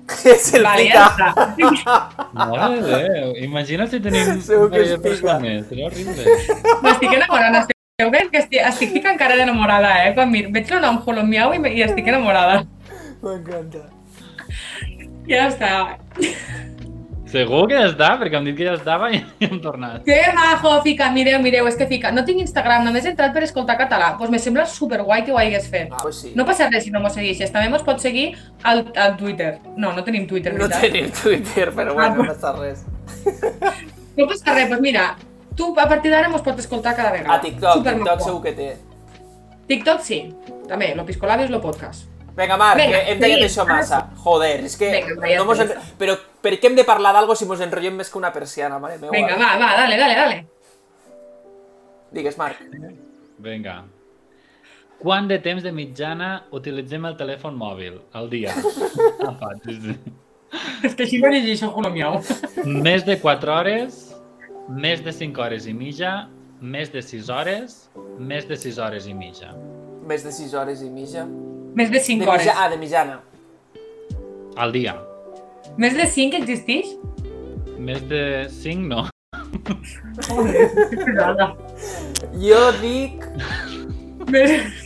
Speaker 2: [LAUGHS]
Speaker 1: sí.
Speaker 2: és el
Speaker 1: Vale, ja
Speaker 2: pica.
Speaker 1: està. [LAUGHS]
Speaker 3: Mare de Déu. Imagina si tenim
Speaker 2: Segur que
Speaker 3: parell de
Speaker 2: es pica.
Speaker 3: persones. Seria horrible.
Speaker 1: M'estic enamorant, esteu veient que estic, estic ficant cara d'enamorada, eh? Quan mir, veig el nom Jolo Miau i, me- i estic enamorada.
Speaker 2: M'encanta.
Speaker 1: Ja està.
Speaker 3: Segur que ja està, perquè hem dit que ja estava i [LAUGHS] hem tornat.
Speaker 1: Que majo, fica, mireu, mireu, és que fica. No tinc Instagram, només he entrat per escoltar català. Doncs pues me sembla superguai que ho hagués fet.
Speaker 2: Ah, pues sí.
Speaker 1: No passa res si no mos segueixes. També mos pots seguir al, al Twitter. No, no tenim Twitter,
Speaker 2: no
Speaker 1: veritat.
Speaker 2: tenim Twitter, però bueno, no
Speaker 1: pues-
Speaker 2: passa res.
Speaker 1: No passa res, doncs mira, tu a partir d'ara mos pots escoltar cada vegada.
Speaker 2: A TikTok,
Speaker 1: Supermaco.
Speaker 2: TikTok segur que té.
Speaker 1: TikTok sí, també, lo piscolabis, lo podcast.
Speaker 2: Vinga, Marc,
Speaker 1: Vinga,
Speaker 2: que hem tallat
Speaker 1: sí.
Speaker 2: això massa. Joder, és que...
Speaker 1: Vinga, vaya
Speaker 2: no mos en...
Speaker 1: pressa.
Speaker 2: Però per què hem de parlar d'algo si mos enrotllem més que una persiana, mare
Speaker 1: [LAUGHS]
Speaker 2: meva?
Speaker 1: Vinga, va, va, dale, dale, dale.
Speaker 2: Digues, Marc.
Speaker 3: Vinga. Quant de temps de mitjana utilitzem el telèfon mòbil al
Speaker 2: [LAUGHS]
Speaker 3: dia? Apa, sí, sí.
Speaker 1: És que així no llegeixo el colomiau.
Speaker 3: més de 4 hores, més de 5 hores i mitja, més de 6 hores, més de 6 hores i mitja.
Speaker 2: Més de 6 hores i mitja.
Speaker 1: Més de
Speaker 2: De
Speaker 1: 5 hores.
Speaker 2: mitja ah, de mitjana.
Speaker 3: Al dia.
Speaker 1: Més de 5 [LAUGHS] existeix?
Speaker 3: Més de 5 no. [LAUGHS]
Speaker 2: Jo dic...
Speaker 1: Més...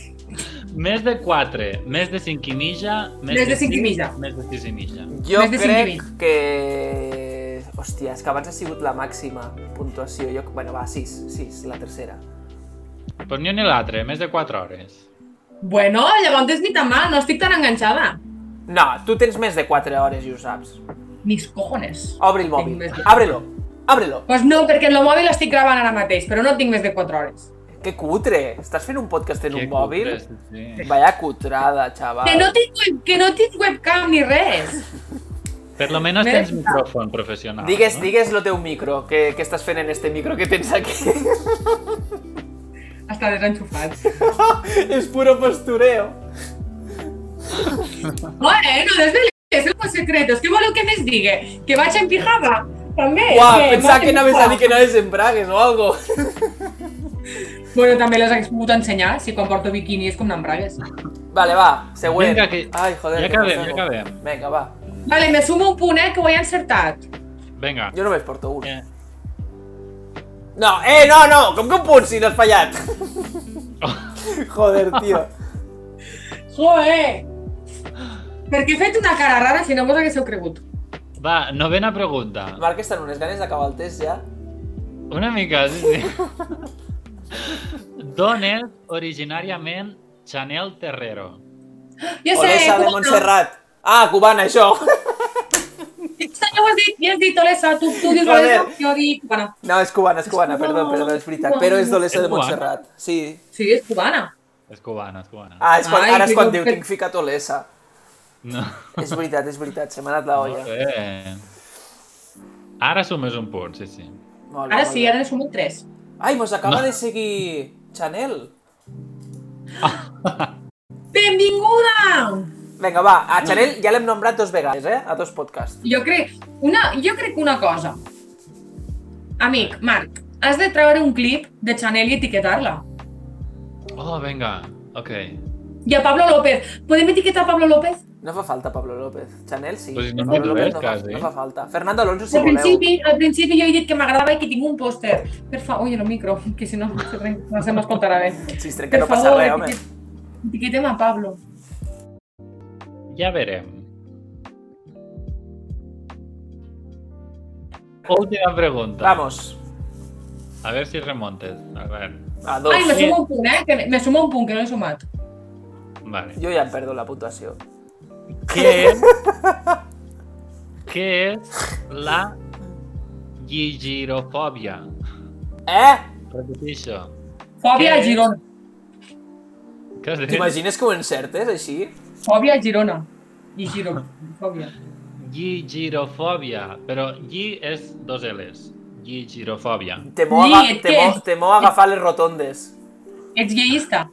Speaker 3: Més de 4, més de 5 i mitja,
Speaker 1: Més de cinc i
Speaker 3: sis,
Speaker 1: mitja.
Speaker 3: Més de 6 i mitja.
Speaker 2: Jo
Speaker 1: Més de cinc i
Speaker 2: crec
Speaker 1: mig.
Speaker 2: que... Hòstia, és que abans ha sigut la màxima puntuació. Jo... Bueno, va, 6, 6, la tercera.
Speaker 3: Però ni un ni l'altre, més de 4 hores.
Speaker 1: Bueno, llavors ni tan mal, no estic tan enganxada.
Speaker 2: No, tu tens més de 4 hores i ho saps.
Speaker 1: Mis cojones.
Speaker 2: Obre el
Speaker 1: Tinc
Speaker 2: mòbil.
Speaker 1: més de-
Speaker 2: Àbrelo. Àbrelo.
Speaker 1: Doncs no, perquè en el mòbil estic gravant ara mateix, però no tinc més de 4 hores.
Speaker 2: Que cutre. Estàs fent un podcast en
Speaker 3: Que
Speaker 2: un mòbil?
Speaker 3: cutres, Sí.
Speaker 2: Vaya cutrada, xaval.
Speaker 1: Que no tinc, web- que no tinc webcam ni res.
Speaker 3: Per lo menos
Speaker 1: Més-
Speaker 3: tens micròfon professional.
Speaker 2: Digues,
Speaker 3: no?
Speaker 2: digues lo teu micro, que, que estàs fent en este micro que tens aquí. [LAUGHS]
Speaker 1: Està desenxufat.
Speaker 2: És puro postureo.
Speaker 1: Bueno, desvelés el meu secret. És que voleu que més digue? Que vaig en pijama? També.
Speaker 2: Uau,
Speaker 1: és
Speaker 2: pensava que
Speaker 1: vaig en
Speaker 2: anaves a
Speaker 1: pijama.
Speaker 2: dir que anaves en bragues o algo. [LAUGHS]
Speaker 1: Bueno, també les hagués pogut enseanyar, si quan porto biquini és com anar amb bragues.
Speaker 2: Vale, va, següent.
Speaker 3: Vinga, que-
Speaker 2: Ai, joder,
Speaker 3: ja
Speaker 2: que
Speaker 3: acabem,
Speaker 2: m'ofego.
Speaker 3: ja acabem.
Speaker 2: Vinga, va.
Speaker 1: Vale, me sumo un punt, eh, que ho he encertat.
Speaker 3: Vinga.
Speaker 2: Jo només porto un.
Speaker 3: Eh.
Speaker 2: No, eh, no, no, com que un punt si no has fallat?
Speaker 3: Oh.
Speaker 2: [LAUGHS] joder, tio.
Speaker 1: Joder! Per què he fet una cara rara si no vos haguéssiu cregut?
Speaker 3: Va, novena pregunta.
Speaker 2: Marc està en unes ganes d'acabar el test ja.
Speaker 3: Una mica, sí, sí. D'on és originàriament Chanel Terrero?
Speaker 1: Ja sé,
Speaker 2: Olesa de
Speaker 1: cubano.
Speaker 2: Montserrat. Ah, cubana, això. [LAUGHS]
Speaker 1: Aquesta ja ho has dit, ja has dit Olesa, tu, tu dius
Speaker 2: Joder.
Speaker 1: Olesa, jo dic cubana.
Speaker 2: No, és cubana, és cubana,
Speaker 1: És
Speaker 2: perdó,
Speaker 1: cubana,
Speaker 2: perdó, és veritat.
Speaker 1: cubana.
Speaker 2: Però és d'Olesa
Speaker 3: És
Speaker 2: de
Speaker 3: cubana?
Speaker 2: Montserrat. Sí.
Speaker 1: Sí, és cubana.
Speaker 3: És cubana, és cubana.
Speaker 2: Ah, és quan,
Speaker 1: Ai,
Speaker 2: ara és
Speaker 1: que
Speaker 2: quan
Speaker 1: jo
Speaker 2: diu,
Speaker 1: pe-
Speaker 2: tinc ficat Olesa.
Speaker 3: No.
Speaker 2: És veritat, és veritat, se m'ha anat la olla.
Speaker 3: Molt bé. Ara sumes un punt, sí, sí.
Speaker 2: Molt bé,
Speaker 1: Ara
Speaker 2: molt
Speaker 1: sí,
Speaker 2: bé.
Speaker 1: ara en som un 3.
Speaker 2: Ai, mos acaba
Speaker 3: No.
Speaker 2: de seguir Chanel.
Speaker 1: Benvinguda!
Speaker 2: Vinga, va, a Chanel ja l'hem nombrat dos vegades, eh? A dos podcasts.
Speaker 1: Jo crec, una, jo crec una cosa. Amic, Marc, has de treure un clip de Chanel i etiquetar-la.
Speaker 3: Oh, vinga. Ok.
Speaker 1: I a Pablo López. Podem etiquetar a Pablo López?
Speaker 2: No fa falta Pablo López. Chanel sí.
Speaker 3: Pues si no
Speaker 2: Pablo
Speaker 3: em
Speaker 2: López
Speaker 3: ves,
Speaker 2: no, fa,
Speaker 3: quasi.
Speaker 2: no fa falta. Fernando Alonso, si
Speaker 1: al,
Speaker 2: voleu.
Speaker 1: principi, al principi jo he dit que m'agradava i que tinc un pòster. Per fa... Ui, el micro, que si no, se trenca- no se m'escoltarà bé.
Speaker 2: Si es trenca no passa res, home.
Speaker 1: etiquet- etiquetem a Pablo.
Speaker 3: Ja verem. Última pregunta.
Speaker 2: Vamos.
Speaker 3: A ver si remontes. A ver.
Speaker 2: A dos.
Speaker 1: Ai, me
Speaker 3: sí.
Speaker 1: sumo un punt, eh? Que me- me sumo un punt, que no he sumat.
Speaker 3: Vale.
Speaker 2: Jo ja em perdo la puntuació.
Speaker 3: ¿Qué es, qué es la gigirofobia?
Speaker 2: Eh?
Speaker 3: Repeteixo.
Speaker 1: Fòbia
Speaker 3: Què?
Speaker 1: a Girona.
Speaker 3: Què has dit?
Speaker 2: T'imagines que ho encertes, així?
Speaker 1: Fòbia a Girona. I Girona. Fòbia.
Speaker 3: Gigirofòbia. Però gi és dos L's. Gigirofòbia.
Speaker 2: Temor,
Speaker 1: Sí,
Speaker 2: aga
Speaker 1: és que-
Speaker 2: temor, temor a agafar les rotondes.
Speaker 1: Ets gayista.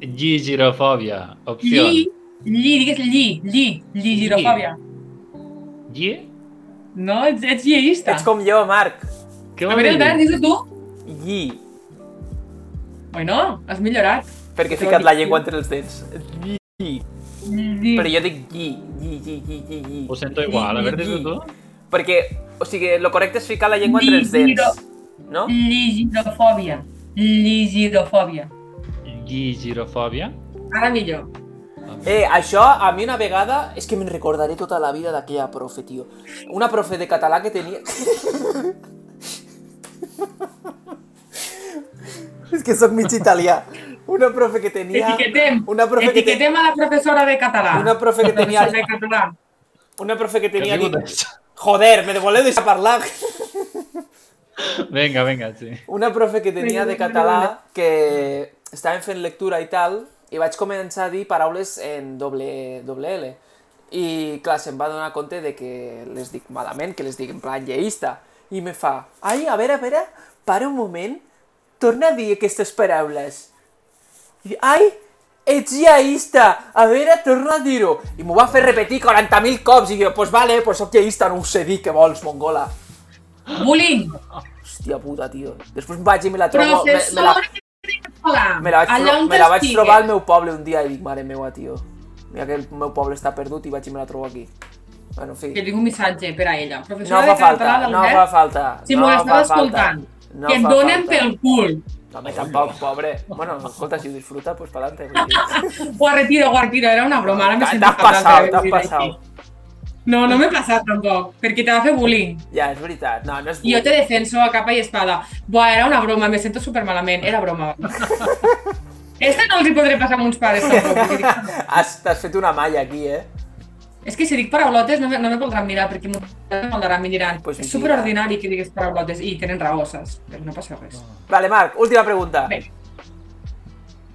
Speaker 3: Gigirofòbia. Opció.
Speaker 1: Lli, lli, digues lli, lli, lli, girofòbia.
Speaker 3: Gi?
Speaker 1: No, ets, ets lliista.
Speaker 2: Ets com jo, Marc.
Speaker 3: Què
Speaker 1: A
Speaker 3: vol
Speaker 1: veure,
Speaker 3: dir?
Speaker 1: Albert, dis-ho tu.
Speaker 2: Yi.
Speaker 1: Bueno, has millorat.
Speaker 2: Perquè he
Speaker 1: Jo
Speaker 2: ficat la
Speaker 1: dic
Speaker 2: llengua
Speaker 1: yi.
Speaker 2: entre els dents. Yi.
Speaker 1: Lli.
Speaker 2: Però jo dic yi, yi, yi, yi, yi, yi.
Speaker 3: Ho sento igual. A veure, dis-ho tu.
Speaker 2: Perquè, o sigui, lo correcte és ficar la llengua entre els
Speaker 1: Yi,
Speaker 2: dents. No?
Speaker 1: Ligirofòbia. Ligirofòbia.
Speaker 3: Gigirofòbia.
Speaker 1: Ara millor.
Speaker 2: Eh, això a mi una vegada... És que me'n recordaré tota la vida d'aquella profe, tio. Una profe de català que tenia... [LAUGHS] és que sóc mig italià. Una profe que tenia...
Speaker 1: Etiquetem.
Speaker 2: Una profe que, te...
Speaker 1: Etiquetem a la professora de català.
Speaker 2: una profe que tenia...
Speaker 1: Professora de català.
Speaker 2: Una profe que
Speaker 3: Que
Speaker 2: tenia...
Speaker 3: ha sigut
Speaker 2: dit-
Speaker 3: això?
Speaker 2: Joder, me voleu deixar parlar?
Speaker 3: Vinga, vinga, sí.
Speaker 2: Una profe que tenia de català que estàvem fent lectura i tal, i vaig començar a dir paraules en doble, doble L. I clar, se'm va donar compte de que les dic malament, que les dic en plan lleista. I me fa, ai, a veure, a veure, para un moment, torna a dir aquestes paraules. I, Ai, ets iaista, a veure, torna a dir-ho. I m'ho va fer repetir 40.000 cops i jo, pues vale, pues soc iaista, no ho sé dir, què vols, mongola?
Speaker 1: Bullying!
Speaker 2: Hòstia puta, tio. Després em vaig i me la trobo... Me, me, la,
Speaker 1: Professora de català,
Speaker 2: me la vaig,
Speaker 1: allà
Speaker 2: tro
Speaker 1: on
Speaker 2: me la vaig
Speaker 1: t'estigues.
Speaker 2: trobar al meu poble un dia i dic, mare meua, tio. Mira que el meu poble està perdut i vaig i me la trobo aquí. Bueno, en fi.
Speaker 1: Que tinc un missatge per a ella.
Speaker 2: No
Speaker 1: Professora
Speaker 2: fa
Speaker 1: de català
Speaker 2: falta,
Speaker 1: del
Speaker 2: no
Speaker 1: Net,
Speaker 2: fa falta.
Speaker 1: si
Speaker 2: no
Speaker 1: m'ho
Speaker 2: fa
Speaker 1: estava
Speaker 2: falta.
Speaker 1: escoltant,
Speaker 2: No
Speaker 1: que et
Speaker 2: fa
Speaker 1: donen
Speaker 2: falta.
Speaker 1: pel cul.
Speaker 2: No, home, tampoc, pobre. Bueno, escolta, si ho disfruta, doncs pues pa'lante.
Speaker 1: Ho retiro, ho retiro, era una broma, ara m'he sentit
Speaker 2: T'has
Speaker 1: fatal per
Speaker 2: passat,
Speaker 1: haver
Speaker 2: t'has
Speaker 1: dit
Speaker 2: passat.
Speaker 1: així. No, no m'he passat tampoc, perquè te va fer bullying.
Speaker 2: Ja, és veritat. No, no és
Speaker 1: I jo te defenso a capa i espada. Buah, era una broma, me sento supermalament, era
Speaker 2: [LAUGHS]
Speaker 1: broma. Esta no els hi podré passar a uns pares, tampoc. perquè dic-
Speaker 2: Has, t'has fet una malla aquí, eh?
Speaker 1: És que si dic paraulotes no, me- no me podran mirar, perquè m'ho mandaran, me diran,
Speaker 2: Pues
Speaker 1: és
Speaker 2: mira.
Speaker 1: superordinari que digues paraulotes, i tenen raó, saps? Però no passa res.
Speaker 2: Vale, Marc, última pregunta.
Speaker 1: Bé,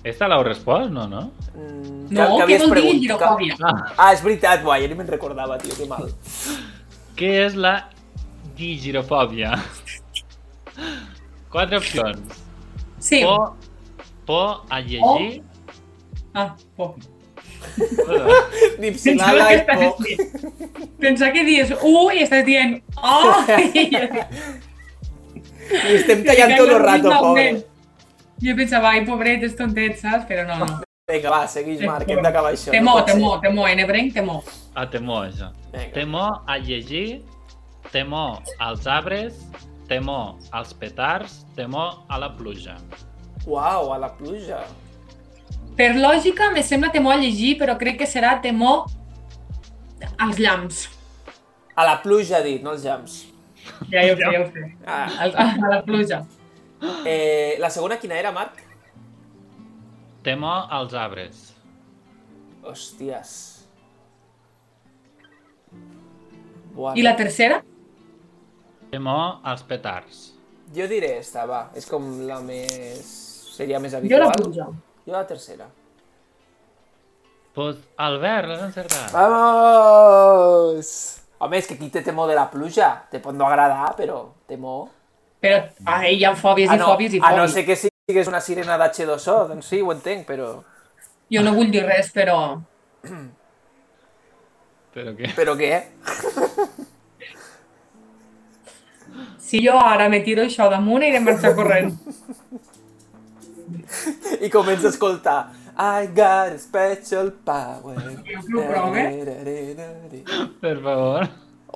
Speaker 3: Esta l'heu respost, no, no?
Speaker 2: Mm, que-
Speaker 1: no,
Speaker 2: que
Speaker 1: què
Speaker 2: havies
Speaker 1: vol dir
Speaker 2: pregun-
Speaker 1: girofòbia?
Speaker 3: Ah,
Speaker 2: que- Ah, és veritat, guai, ja ni me'n recordava, tio, que
Speaker 1: [LAUGHS]
Speaker 2: mal.
Speaker 3: què és la digirofòbia? Quatre opcions.
Speaker 1: Sí.
Speaker 2: Oh.
Speaker 3: Por, por a llegir...
Speaker 1: Ah, por.
Speaker 2: Dipsilada i po.
Speaker 1: Pensar que dius u i estàs dient oh! [LAUGHS] I jo-
Speaker 2: Li estem tallant tot el rato, pobre.
Speaker 1: Jo pensava, ai, pobret, és tontet, saps? Però no, no.
Speaker 2: Vinga, va, segueix, Marc, que hem d'acabar això.
Speaker 1: Temor,
Speaker 2: no pot ser.
Speaker 1: temor, temor, en ebrenc, temor.
Speaker 3: A temor, això.
Speaker 2: Vinga.
Speaker 3: Temor a llegir, temor als arbres, temor als petards, temor a la pluja.
Speaker 2: Uau, a la pluja.
Speaker 1: Per lògica, me sembla temor a llegir, però crec que serà temor als llamps.
Speaker 2: A la pluja, ha dit, no als jams.
Speaker 1: Ja, ja ho sé, ja ho sé.
Speaker 2: Ah,
Speaker 1: Al- A la pluja.
Speaker 2: eh, la segona quina era, Marc?
Speaker 3: Temor als arbres.
Speaker 2: Hòsties. Buah,
Speaker 1: I la tercera?
Speaker 3: Temor als petards.
Speaker 2: Jo diré esta, va. És com la més... Seria més
Speaker 1: Jo
Speaker 2: habitual.
Speaker 1: la pluja.
Speaker 2: Jo la tercera.
Speaker 3: Pues, Albert, l'has encertat.
Speaker 2: Ah. Vamos! Home, és que aquí té temor de la pluja. Te pot no agradar, però temor...
Speaker 1: Però, ai, hi ha fòbies i
Speaker 2: Ah, no,
Speaker 1: fòbies i
Speaker 2: a no
Speaker 1: fòbies.
Speaker 2: ser que sigues una sirena d'H2O, doncs sí, ho entenc, però...
Speaker 1: Jo no vull dir res, però...
Speaker 3: Però què?
Speaker 2: Però què? [LAUGHS]
Speaker 1: Si jo ara me tiro això damunt, iré a marxar corrent.
Speaker 2: I comença a escoltar... I got a special power.
Speaker 1: Ja ho provo,
Speaker 3: Per favor.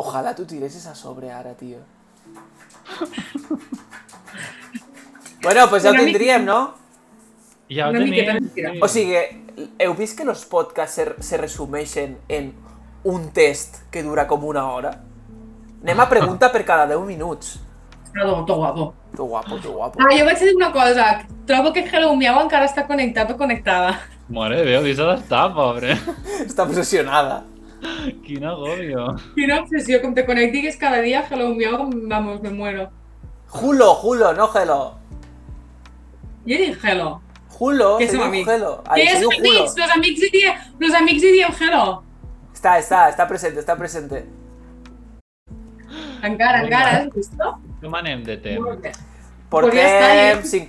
Speaker 2: Ojalà tu tiressis a sobre ara,
Speaker 1: [LAUGHS]
Speaker 2: tio. Bueno, pues ja ho
Speaker 1: Una mica.
Speaker 2: tindríem, no?
Speaker 3: Ja ho
Speaker 1: Una miqueta
Speaker 3: tenim.
Speaker 1: mentida.
Speaker 2: O sigui, heu vist que los podcasts se, se resumeixen en un test que dura com una hora? Anem a pregunta per cada 10 minuts.
Speaker 1: Todo, todo guapo.
Speaker 2: Que guapo, que guapo.
Speaker 1: Ah, jo vaig dir una cosa. Trobo que Hello Miau encara està connectat o connectada. [LAUGHS]
Speaker 3: Mare de Déu, deixa d'estar, pobre. [LAUGHS]
Speaker 2: Està obsessionada.
Speaker 3: Quin agobio.
Speaker 1: Quina obsessió, com te connectigues cada dia, Hello Miau, vamos, me muero.
Speaker 2: Julo, Julo, no Hello.
Speaker 1: Jo dic Hello.
Speaker 2: Julo,
Speaker 1: Que
Speaker 2: Oh, se
Speaker 1: som
Speaker 2: diu
Speaker 1: amics.
Speaker 2: Hello.
Speaker 1: Que
Speaker 2: Ai, se
Speaker 1: és
Speaker 2: diu Julo.
Speaker 1: amics, los amics hi diem, los amics hi diem Hello.
Speaker 2: Està, està, està presente, està presente.
Speaker 1: Encara,
Speaker 3: Vinga.
Speaker 1: encara, has vist? no?
Speaker 3: Com anem de
Speaker 1: Molt
Speaker 3: temps?
Speaker 1: bé. Podria estar
Speaker 2: Portem
Speaker 1: ahí.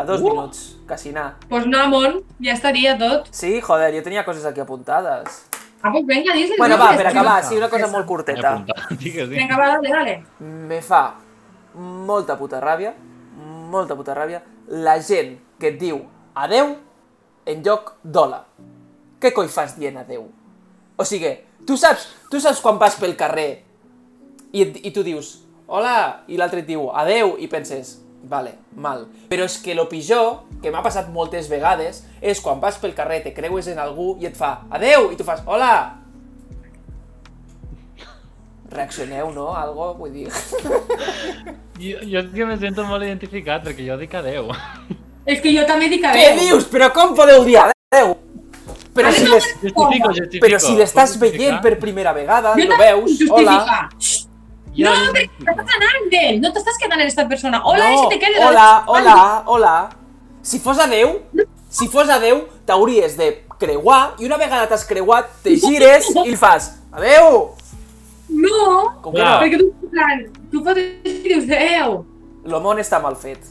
Speaker 2: 52
Speaker 1: Uh.
Speaker 2: minuts, quasi anar.
Speaker 1: Pues no, món, ja estaria tot.
Speaker 2: Sí, joder, jo tenia coses aquí apuntades.
Speaker 1: Ah, pues venga, dis-li.
Speaker 2: Bueno,
Speaker 1: no,
Speaker 2: va,
Speaker 1: que
Speaker 2: per
Speaker 1: és-
Speaker 2: acabar, sí, una cosa molt
Speaker 3: He
Speaker 2: curteta.
Speaker 3: apuntat, [LAUGHS] digues,
Speaker 1: Vinga,
Speaker 3: digues.
Speaker 1: va, dale, dale.
Speaker 2: me fa molta puta ràbia, molta puta ràbia, la gent que et diu adeu en lloc d'hola. Què coi fas dient adeu? O sigui, tu saps, tu saps quan vas pel carrer i, et- i tu dius hola i l'altre et diu adeu i penses vale, mal. Però és que lo pitjor, que m'ha passat moltes vegades, és quan vas pel carrer, te creues en algú i et fa adeu i tu fas hola. Reaccioneu, no? Algo, vull dir...
Speaker 3: Jo, jo és que me sento molt identificat perquè jo dic adeu.
Speaker 1: És que jo també dic
Speaker 2: Què
Speaker 1: adéu.
Speaker 2: dius? Però com podeu dir adeu? Però si,
Speaker 1: Adéu,
Speaker 2: les,
Speaker 3: [LAUGHS] Justifico, justifico.
Speaker 2: però si l'estàs
Speaker 3: Puc
Speaker 2: veient
Speaker 3: justificar?
Speaker 2: per primera vegada,
Speaker 1: Jo
Speaker 2: lo
Speaker 1: també
Speaker 2: veus,
Speaker 1: puc
Speaker 2: hola,
Speaker 1: justificar. No,
Speaker 3: Jo
Speaker 1: perquè t'estàs anant d'ell, no t'estàs quedant en esta persona. Hola,
Speaker 2: no,
Speaker 1: no, si te quedes...
Speaker 2: hola, hola, hola. Si fos adeu, si fos adeu, t'hauries de creuar i una vegada t'has creuat, te gires i li fas adeu.
Speaker 1: No,
Speaker 2: Com que no?
Speaker 3: Clar.
Speaker 1: perquè tu, en plan, tu fas així i dius, adeu.
Speaker 2: El món està mal fet.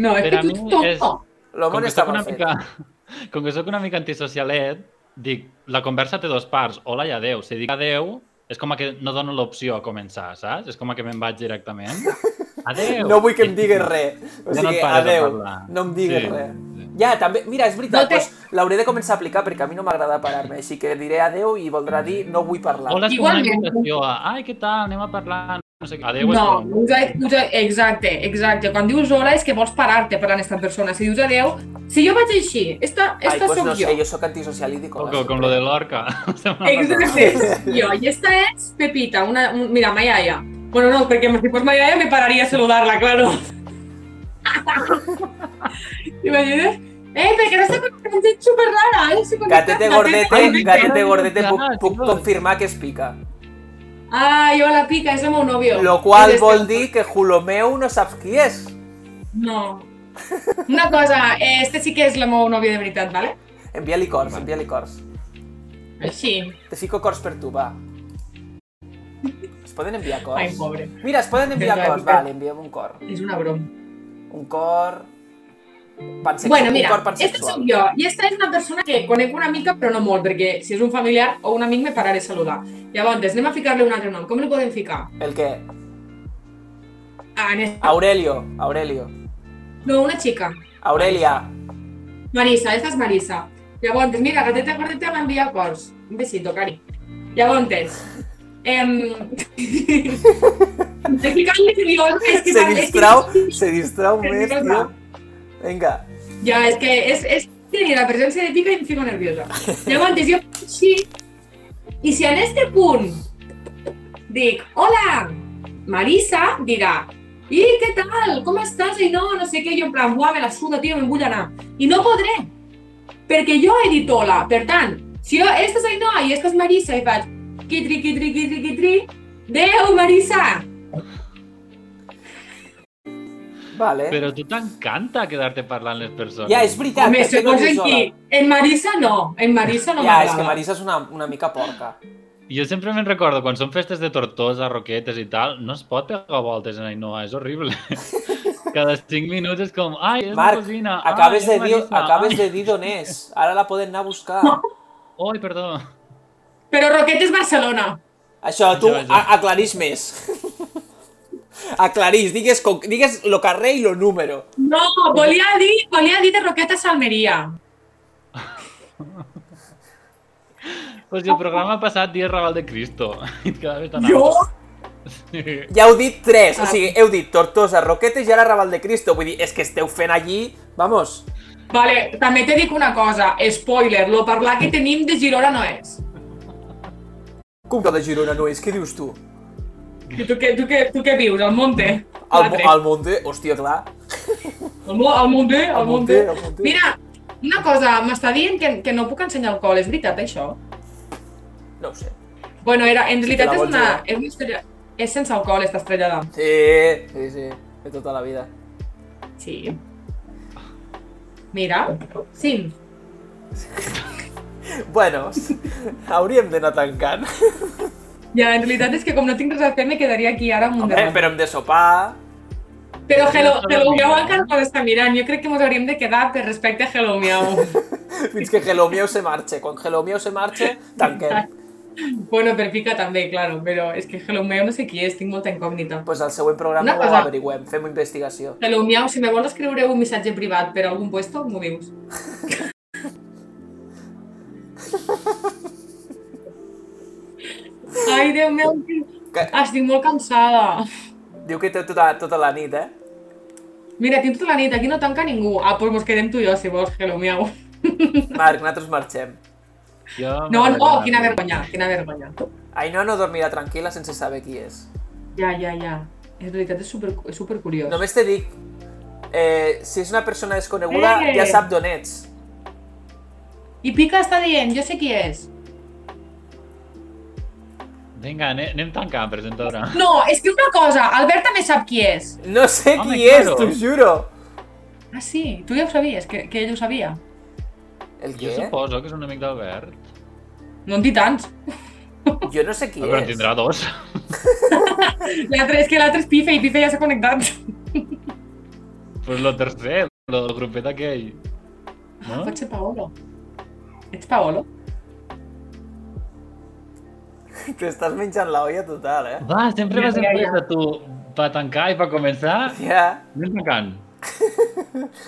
Speaker 1: No, és
Speaker 3: Per a
Speaker 1: que
Speaker 3: mi
Speaker 1: tu tot...
Speaker 3: és-
Speaker 2: El
Speaker 3: Com
Speaker 2: món
Speaker 3: que,
Speaker 2: està
Speaker 3: sóc una
Speaker 2: mal fet.
Speaker 3: mica, [LAUGHS] com que sóc una mica antisocialet, dic, la conversa té dos parts, hola i adeu. Si dic adeu, és com a que no dono l'opció a començar, saps? És com a que me'n vaig
Speaker 2: [LAUGHS]
Speaker 3: directament. Adeu.
Speaker 2: No vull que em diguis res. O
Speaker 3: Ja no
Speaker 2: sigui,
Speaker 3: et
Speaker 2: no
Speaker 3: pares a
Speaker 2: adeu,
Speaker 3: parlar.
Speaker 2: no em diguis
Speaker 3: Sí,
Speaker 2: res.
Speaker 3: sí.
Speaker 2: Ja, també, mira, és veritat,
Speaker 1: No té-
Speaker 2: doncs, l'hauré de començar a aplicar perquè a mi no m'agrada parar-me, així que diré adeu i voldrà dir no vull parlar.
Speaker 3: Hola, és com una
Speaker 1: Igualment.
Speaker 3: invitació. a, Ai, què tal? Anem a parlar. No sé què. Adeu.
Speaker 1: No,
Speaker 3: és com-
Speaker 1: us, us, exacte, exacte. Quan dius hola és que vols parar-te per a aquesta persona. Si dius adeu, si jo vaig així, esta,
Speaker 2: Ai,
Speaker 1: esta
Speaker 2: pues
Speaker 1: sóc
Speaker 2: no
Speaker 1: jo.
Speaker 2: sé, jo sóc antisocial i dic
Speaker 3: Com,
Speaker 2: hola.
Speaker 3: com, com lo de l'orca. [LAUGHS]
Speaker 1: Exacte, jo. I esta és Pepita, una, un, mira, ma iaia. Bueno, no, perquè si fos ma iaia me pararia a saludar-la, claro. Imagines? Eh, perquè ara està con gent superrara, eh? Sí,
Speaker 2: Gatete gordete, gatete gordete,
Speaker 3: Ja,
Speaker 2: puc, puc
Speaker 3: tio.
Speaker 2: confirmar que es pica.
Speaker 1: Ai, hola, pica, és el meu nòvio.
Speaker 2: Lo qual
Speaker 1: És este.
Speaker 2: vol dir que Julomeu no saps qui és.
Speaker 1: No. Una cosa, eh, este sí que és la meva nòvia de veritat, vale?
Speaker 2: Envia-li cors, envia-li cors.
Speaker 1: Així.
Speaker 2: Te fico cors per tu, va. Es poden enviar cors?
Speaker 1: Ai, pobre.
Speaker 2: Mira, es poden enviar
Speaker 1: Vinga,
Speaker 2: cors.
Speaker 1: vinga.
Speaker 2: Vale, enviem un cor.
Speaker 1: És una broma.
Speaker 2: Un cor... Pansexual.
Speaker 1: Bueno,
Speaker 2: un cor
Speaker 1: mira, esta
Speaker 2: pansexual.
Speaker 1: sóc jo i esta és una persona que conec una mica, però no molt, perquè si és un familiar o un amic me pararé a saludar. Llavors, anem a ficar-li un altre nom. Com li podem ficar?
Speaker 2: El què?
Speaker 1: Anes...
Speaker 2: Aurelio, Aurelio.
Speaker 1: No, una xica.
Speaker 2: Aurelia.
Speaker 1: Marisa, esta és Marisa. Llavors, mira, gateta gordeta m'envia cors. Un besito, cari. Llavors, em... [LAUGHS] Estic ficant-li que digo, és que...
Speaker 2: [LAUGHS] Se
Speaker 1: és que-
Speaker 2: distrau, se distrau més,
Speaker 1: Nerviosa.
Speaker 2: tio. Vinga.
Speaker 1: Ja, és que és, és tenir la presència de pica i em fico
Speaker 2: [LAUGHS]
Speaker 1: nerviosa. Llavors, jo sí, i si en este punt dic, hola, Marisa, dirà, i què tal, com estàs? I no, no sé què, jo en plan, buah, me la suda, tio, me'n vull anar. I no podré, perquè jo he dit hola. Per tant, si jo, esta és Ainhoa i esta és Marisa, i faig, quitri, quitri, quitri, quitri, adeu, Marisa!
Speaker 2: Vale.
Speaker 3: Però a tu t'encanta quedar-te parlant les persones.
Speaker 2: Eh? Ja, és veritat.
Speaker 1: Home,
Speaker 2: per què no
Speaker 1: segons en
Speaker 2: dius hola?
Speaker 1: qui, en Marisa no, en Marisa no
Speaker 2: Ja, és que
Speaker 1: m'agrada.
Speaker 2: Marisa és una, una mica porca.
Speaker 3: Jo sempre me'n recordo, quan són festes de tortosa, roquetes i tal, no es pot pegar voltes en Ainhoa, és
Speaker 2: [LAUGHS]
Speaker 3: horrible. Cada cinc minuts és com, ai, és
Speaker 2: Marc,
Speaker 1: Ah,
Speaker 3: la cosina, ai,
Speaker 2: Acabes de
Speaker 3: és
Speaker 2: dir,
Speaker 3: Marisa,
Speaker 2: acabes
Speaker 3: ai,
Speaker 2: de dir d'on és. Ara la poden anar a buscar.
Speaker 3: Oi, perdó.
Speaker 1: Però Roquet és Barcelona.
Speaker 2: Això, tu
Speaker 3: Jo, jo.
Speaker 2: a- aclarís més. [LAUGHS] aclarís, digues, con- digues lo carrer i lo número.
Speaker 1: No, volia dir, volia dir de Roqueta a Almeria.
Speaker 3: Pues el programa passat dia Raval de Cristo. [LAUGHS] I cada vez anava.
Speaker 1: Jo?
Speaker 3: Sí.
Speaker 2: Ja heu dit tres,
Speaker 1: Ah.
Speaker 2: o sigui, heu dit Tortosa, Roquetes i ara Raval de Cristo. Vull dir, és que esteu fent allí, vamos,
Speaker 1: Vale, també te dic una cosa, spoiler, lo parlar que tenim de Girona no és.
Speaker 2: com que de Girona no és, què dius tu?
Speaker 1: I tu què, tu què, tu què vius, al Monte?
Speaker 2: Al,
Speaker 1: Quatre.
Speaker 2: al Monte, hòstia, clar.
Speaker 1: Al Mo- al Monte, al Monte.
Speaker 2: al Monte.
Speaker 1: Mira, una cosa, m'està dient que, que no puc ensenyar alcohol, és veritat això?
Speaker 2: No ho sé.
Speaker 1: Bueno, era, en
Speaker 2: te la
Speaker 1: realitat és
Speaker 2: vols
Speaker 1: una,
Speaker 2: jugar.
Speaker 1: és una estrella, és sense alcohol, esta estrellada.
Speaker 2: Sí, sí, sí, de tota la vida.
Speaker 1: Sí. Mira, sí.
Speaker 2: Bueno, [LAUGHS] hauríem d'anar tancant.
Speaker 1: Ja, en realitat és que com no tinc res a fer, me quedaria aquí ara amb un
Speaker 2: Home,
Speaker 1: debat.
Speaker 2: però hem de sopar.
Speaker 1: Però Hello,
Speaker 3: Una
Speaker 1: Hello
Speaker 3: sola
Speaker 1: Miau
Speaker 3: miau.
Speaker 1: encara no està mirant. Jo crec que ens hauríem de quedar per respecte a Hello Miau. [LAUGHS]
Speaker 2: Fins que Hello Miau se marxe. Quan Hello Miau se marxe, tanquem.
Speaker 1: bueno, per Pica també, claro, però és que Hello Miau no sé qui és, tinc molta incògnita.
Speaker 2: Doncs pues al següent programa
Speaker 1: Una
Speaker 2: ho
Speaker 1: cosa.
Speaker 2: averigüem, fem investigació.
Speaker 1: Hello Miau, si me vols escriure un missatge privat per a algun puesto, m'ho dius. [LAUGHS] Ai, Déu meu,
Speaker 2: Que-
Speaker 1: estic molt cansada.
Speaker 2: Diu que té tota, tota la nit, eh?
Speaker 1: Mira, tinc tota la nit, aquí no tanca ningú. Ah, doncs mos quedem tu i jo, si vols, Hello Miau.
Speaker 2: Marc, nosaltres marxem.
Speaker 3: Jo
Speaker 1: No,
Speaker 3: m'agrada.
Speaker 1: no, quina vergonya, quina vergonya.
Speaker 2: Ainhoa no dormirà tranquil·la sense saber qui és.
Speaker 1: Ja, ja, ja. És veritat, és super, és super curiós. No,
Speaker 2: Només te dic, eh, si és una persona desconeguda,
Speaker 1: Eh!
Speaker 2: ja sap d'on ets.
Speaker 1: I Pica està dient, jo sé qui és.
Speaker 3: Vinga, anem, anem tancant, presentadora.
Speaker 1: No, és que una cosa, Albert també sap qui és.
Speaker 2: No sé
Speaker 3: Home,
Speaker 2: qui és,
Speaker 3: claro.
Speaker 2: t'ho juro.
Speaker 1: Ah, sí? Tu ja ho sabies, que, que ell ho sabia.
Speaker 2: El
Speaker 3: Jo
Speaker 2: què?
Speaker 3: suposo que és un amic d'Albert.
Speaker 1: No en dic tants.
Speaker 2: Jo no sé qui
Speaker 3: Ah, Però en
Speaker 2: és.
Speaker 3: tindrà dos. [LAUGHS]
Speaker 1: L'altre, és que l'altre és Pife i Pife ja s'ha connectat.
Speaker 3: pues lo tercer, lo, el grupet aquell. No?
Speaker 1: Pot ser Paolo. Ets Paolo?
Speaker 2: T'estàs menjant la olla total, eh?
Speaker 3: Va, sempre vas
Speaker 1: Ja, ja, ja.
Speaker 3: empresa, tu. Va tancar i va començar.
Speaker 2: Ja.
Speaker 3: Anem tancant.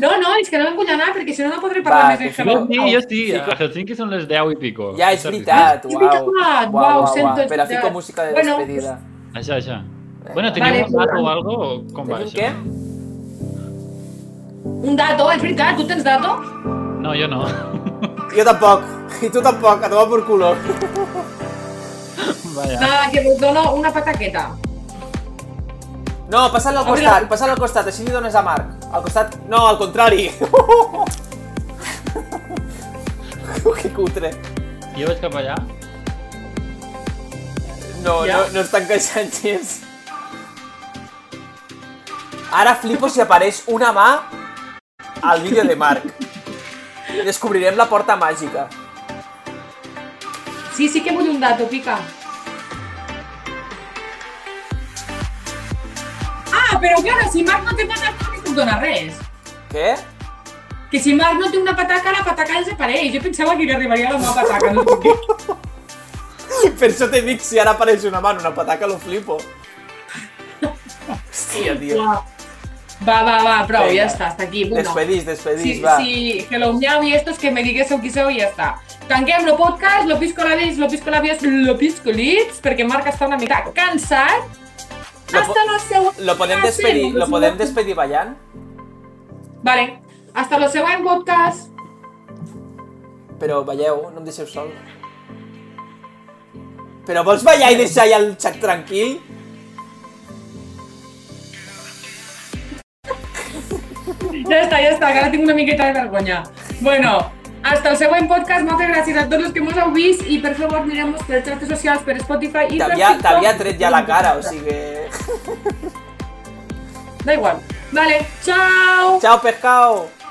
Speaker 1: No, no, és que no me'n vull anar perquè si no no podré
Speaker 2: Va,
Speaker 1: parlar més de
Speaker 2: que
Speaker 3: Jo
Speaker 1: Hello.
Speaker 3: sí,
Speaker 1: Out.
Speaker 3: jo sí. A Helsinki són les 10 i pico.
Speaker 2: Ja, és veritat,
Speaker 1: Ah, és
Speaker 2: uau.
Speaker 1: veritat, uau, sento-
Speaker 2: Espera, fico música de
Speaker 1: Bueno,
Speaker 2: despedida.
Speaker 3: Això, això. Bueno,
Speaker 2: Vinga.
Speaker 3: teniu
Speaker 1: Vale,
Speaker 3: un dato
Speaker 1: pues-
Speaker 3: o algo? o Com va
Speaker 2: Eh, Tenim
Speaker 3: això?
Speaker 2: què?
Speaker 1: Un dato, és veritat, tu tens dato?
Speaker 3: No, jo no. [LAUGHS]
Speaker 2: Jo tampoc. [LAUGHS] I tu tampoc, a tomar por culo.
Speaker 3: Vaja.
Speaker 1: Nada, que us dono una pataqueta.
Speaker 2: No, passa-li al
Speaker 1: Obri la
Speaker 2: costat,
Speaker 1: boca.
Speaker 2: passa-li al costat, així li dones a Marc. Al costat... No, al contrari. [LAUGHS] que cutre.
Speaker 3: Jo vaig cap allà.
Speaker 2: No,
Speaker 1: Ja.
Speaker 2: no, no està encaixant gens. Ara flipo si apareix una mà al vídeo de Marc. Descobrirem la porta màgica.
Speaker 1: Sí, sí que vull un dato, pica. Ah, però clar, si Marc no té pataca no li puc donar res.
Speaker 2: Què?
Speaker 1: Que si Marc no té una pataca, la pataca desapareix. Jo pensava que li arribaria la meva pataca.
Speaker 2: [LAUGHS]
Speaker 1: No sé què.
Speaker 2: Per això t'he dit, si ara apareix una mà en una pataca, lo flipo. Hòstia, tio.
Speaker 1: Va, va, va, prou,
Speaker 2: Venga.
Speaker 1: ja està, hasta aquí. Bueno,
Speaker 2: Despedís,
Speaker 1: sí,
Speaker 2: despedís, va.
Speaker 1: sí, hello miau y estos que me diguéssiu qui sou i ja està. Tanquem el podcast, lo pisco labios, lo pisco labios, lo pisco lips, perquè Marc està una mica cansat.
Speaker 2: Lo po-
Speaker 1: Hasta la següent...
Speaker 2: Lo podem
Speaker 1: classe,
Speaker 2: despedir, lo
Speaker 1: si Ah, no-
Speaker 2: podem despedir ballant?
Speaker 1: Vale, hasta la següent podcast.
Speaker 2: Però balleu, no em deixeu sol. Però vols ballar i deixar ja el xac tranquil?
Speaker 1: Ja està, ja està, que ara tinc una miqueta de vergonya. Bueno, hasta el següent podcast. Moltes gràcies a tots els que mos heu vist i per favor mirem per xarxes socials, per Spotify i per
Speaker 2: T'havia
Speaker 1: TikTok.
Speaker 2: t'havia tret ja la cara, o sigui...
Speaker 1: Da igual. Vale, chao.
Speaker 2: Chao, pescado!